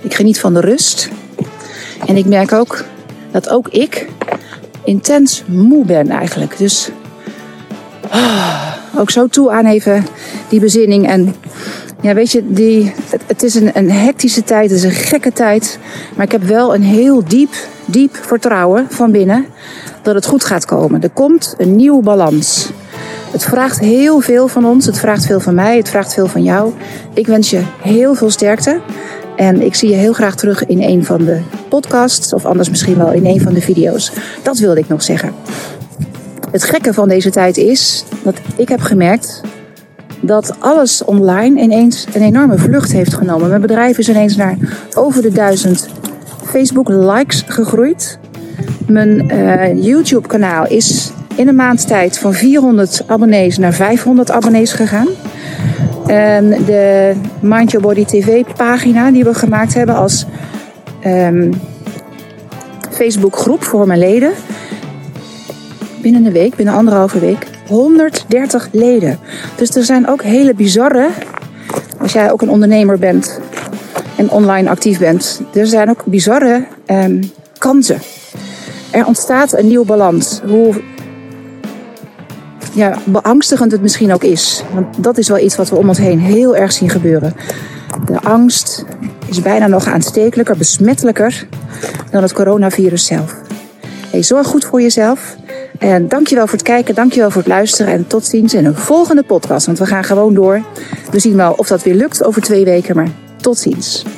Ik geniet van de rust. En ik merk ook dat ook ik intens moe ben eigenlijk. Dus ook zo toe aan even die bezinning. En ja, weet je, die, het, het is een, een hectische tijd, het is een gekke tijd. Maar ik heb wel een heel diep, diep vertrouwen van binnen dat het goed gaat komen. Er komt een nieuwe balans. Het vraagt heel veel van ons, het vraagt veel van mij, het vraagt veel van jou. Ik wens je heel veel sterkte. En ik zie je heel graag terug in een van de podcasts, of anders misschien wel in een van de video's. Dat wilde ik nog zeggen het gekke van deze tijd is dat ik heb gemerkt dat alles online ineens een enorme vlucht heeft genomen. Mijn bedrijf is ineens naar over de duizend Facebook-likes gegroeid. Mijn eh, YouTube-kanaal is in een maand tijd van 400 abonnees naar 500 abonnees gegaan. En de Mind Your Body TV-pagina die we gemaakt hebben als ehm, Facebook-groep voor mijn leden binnen een week, binnen anderhalve week, 130 leden. Dus er zijn ook hele bizarre, als jij ook een ondernemer bent en online actief bent, er zijn ook bizarre ehm, kansen. Er ontstaat een nieuwe balans. Hoe ja, beangstigend het misschien ook is. Want dat is wel iets wat we om ons heen heel erg zien gebeuren. De angst is bijna nog aanstekelijker, besmettelijker dan het coronavirus zelf. Hey, zorg goed voor jezelf. En dankjewel voor het kijken, dankjewel voor het luisteren. En tot ziens in een volgende podcast. Want we gaan gewoon door. We zien wel of dat weer lukt over twee weken. Maar tot ziens.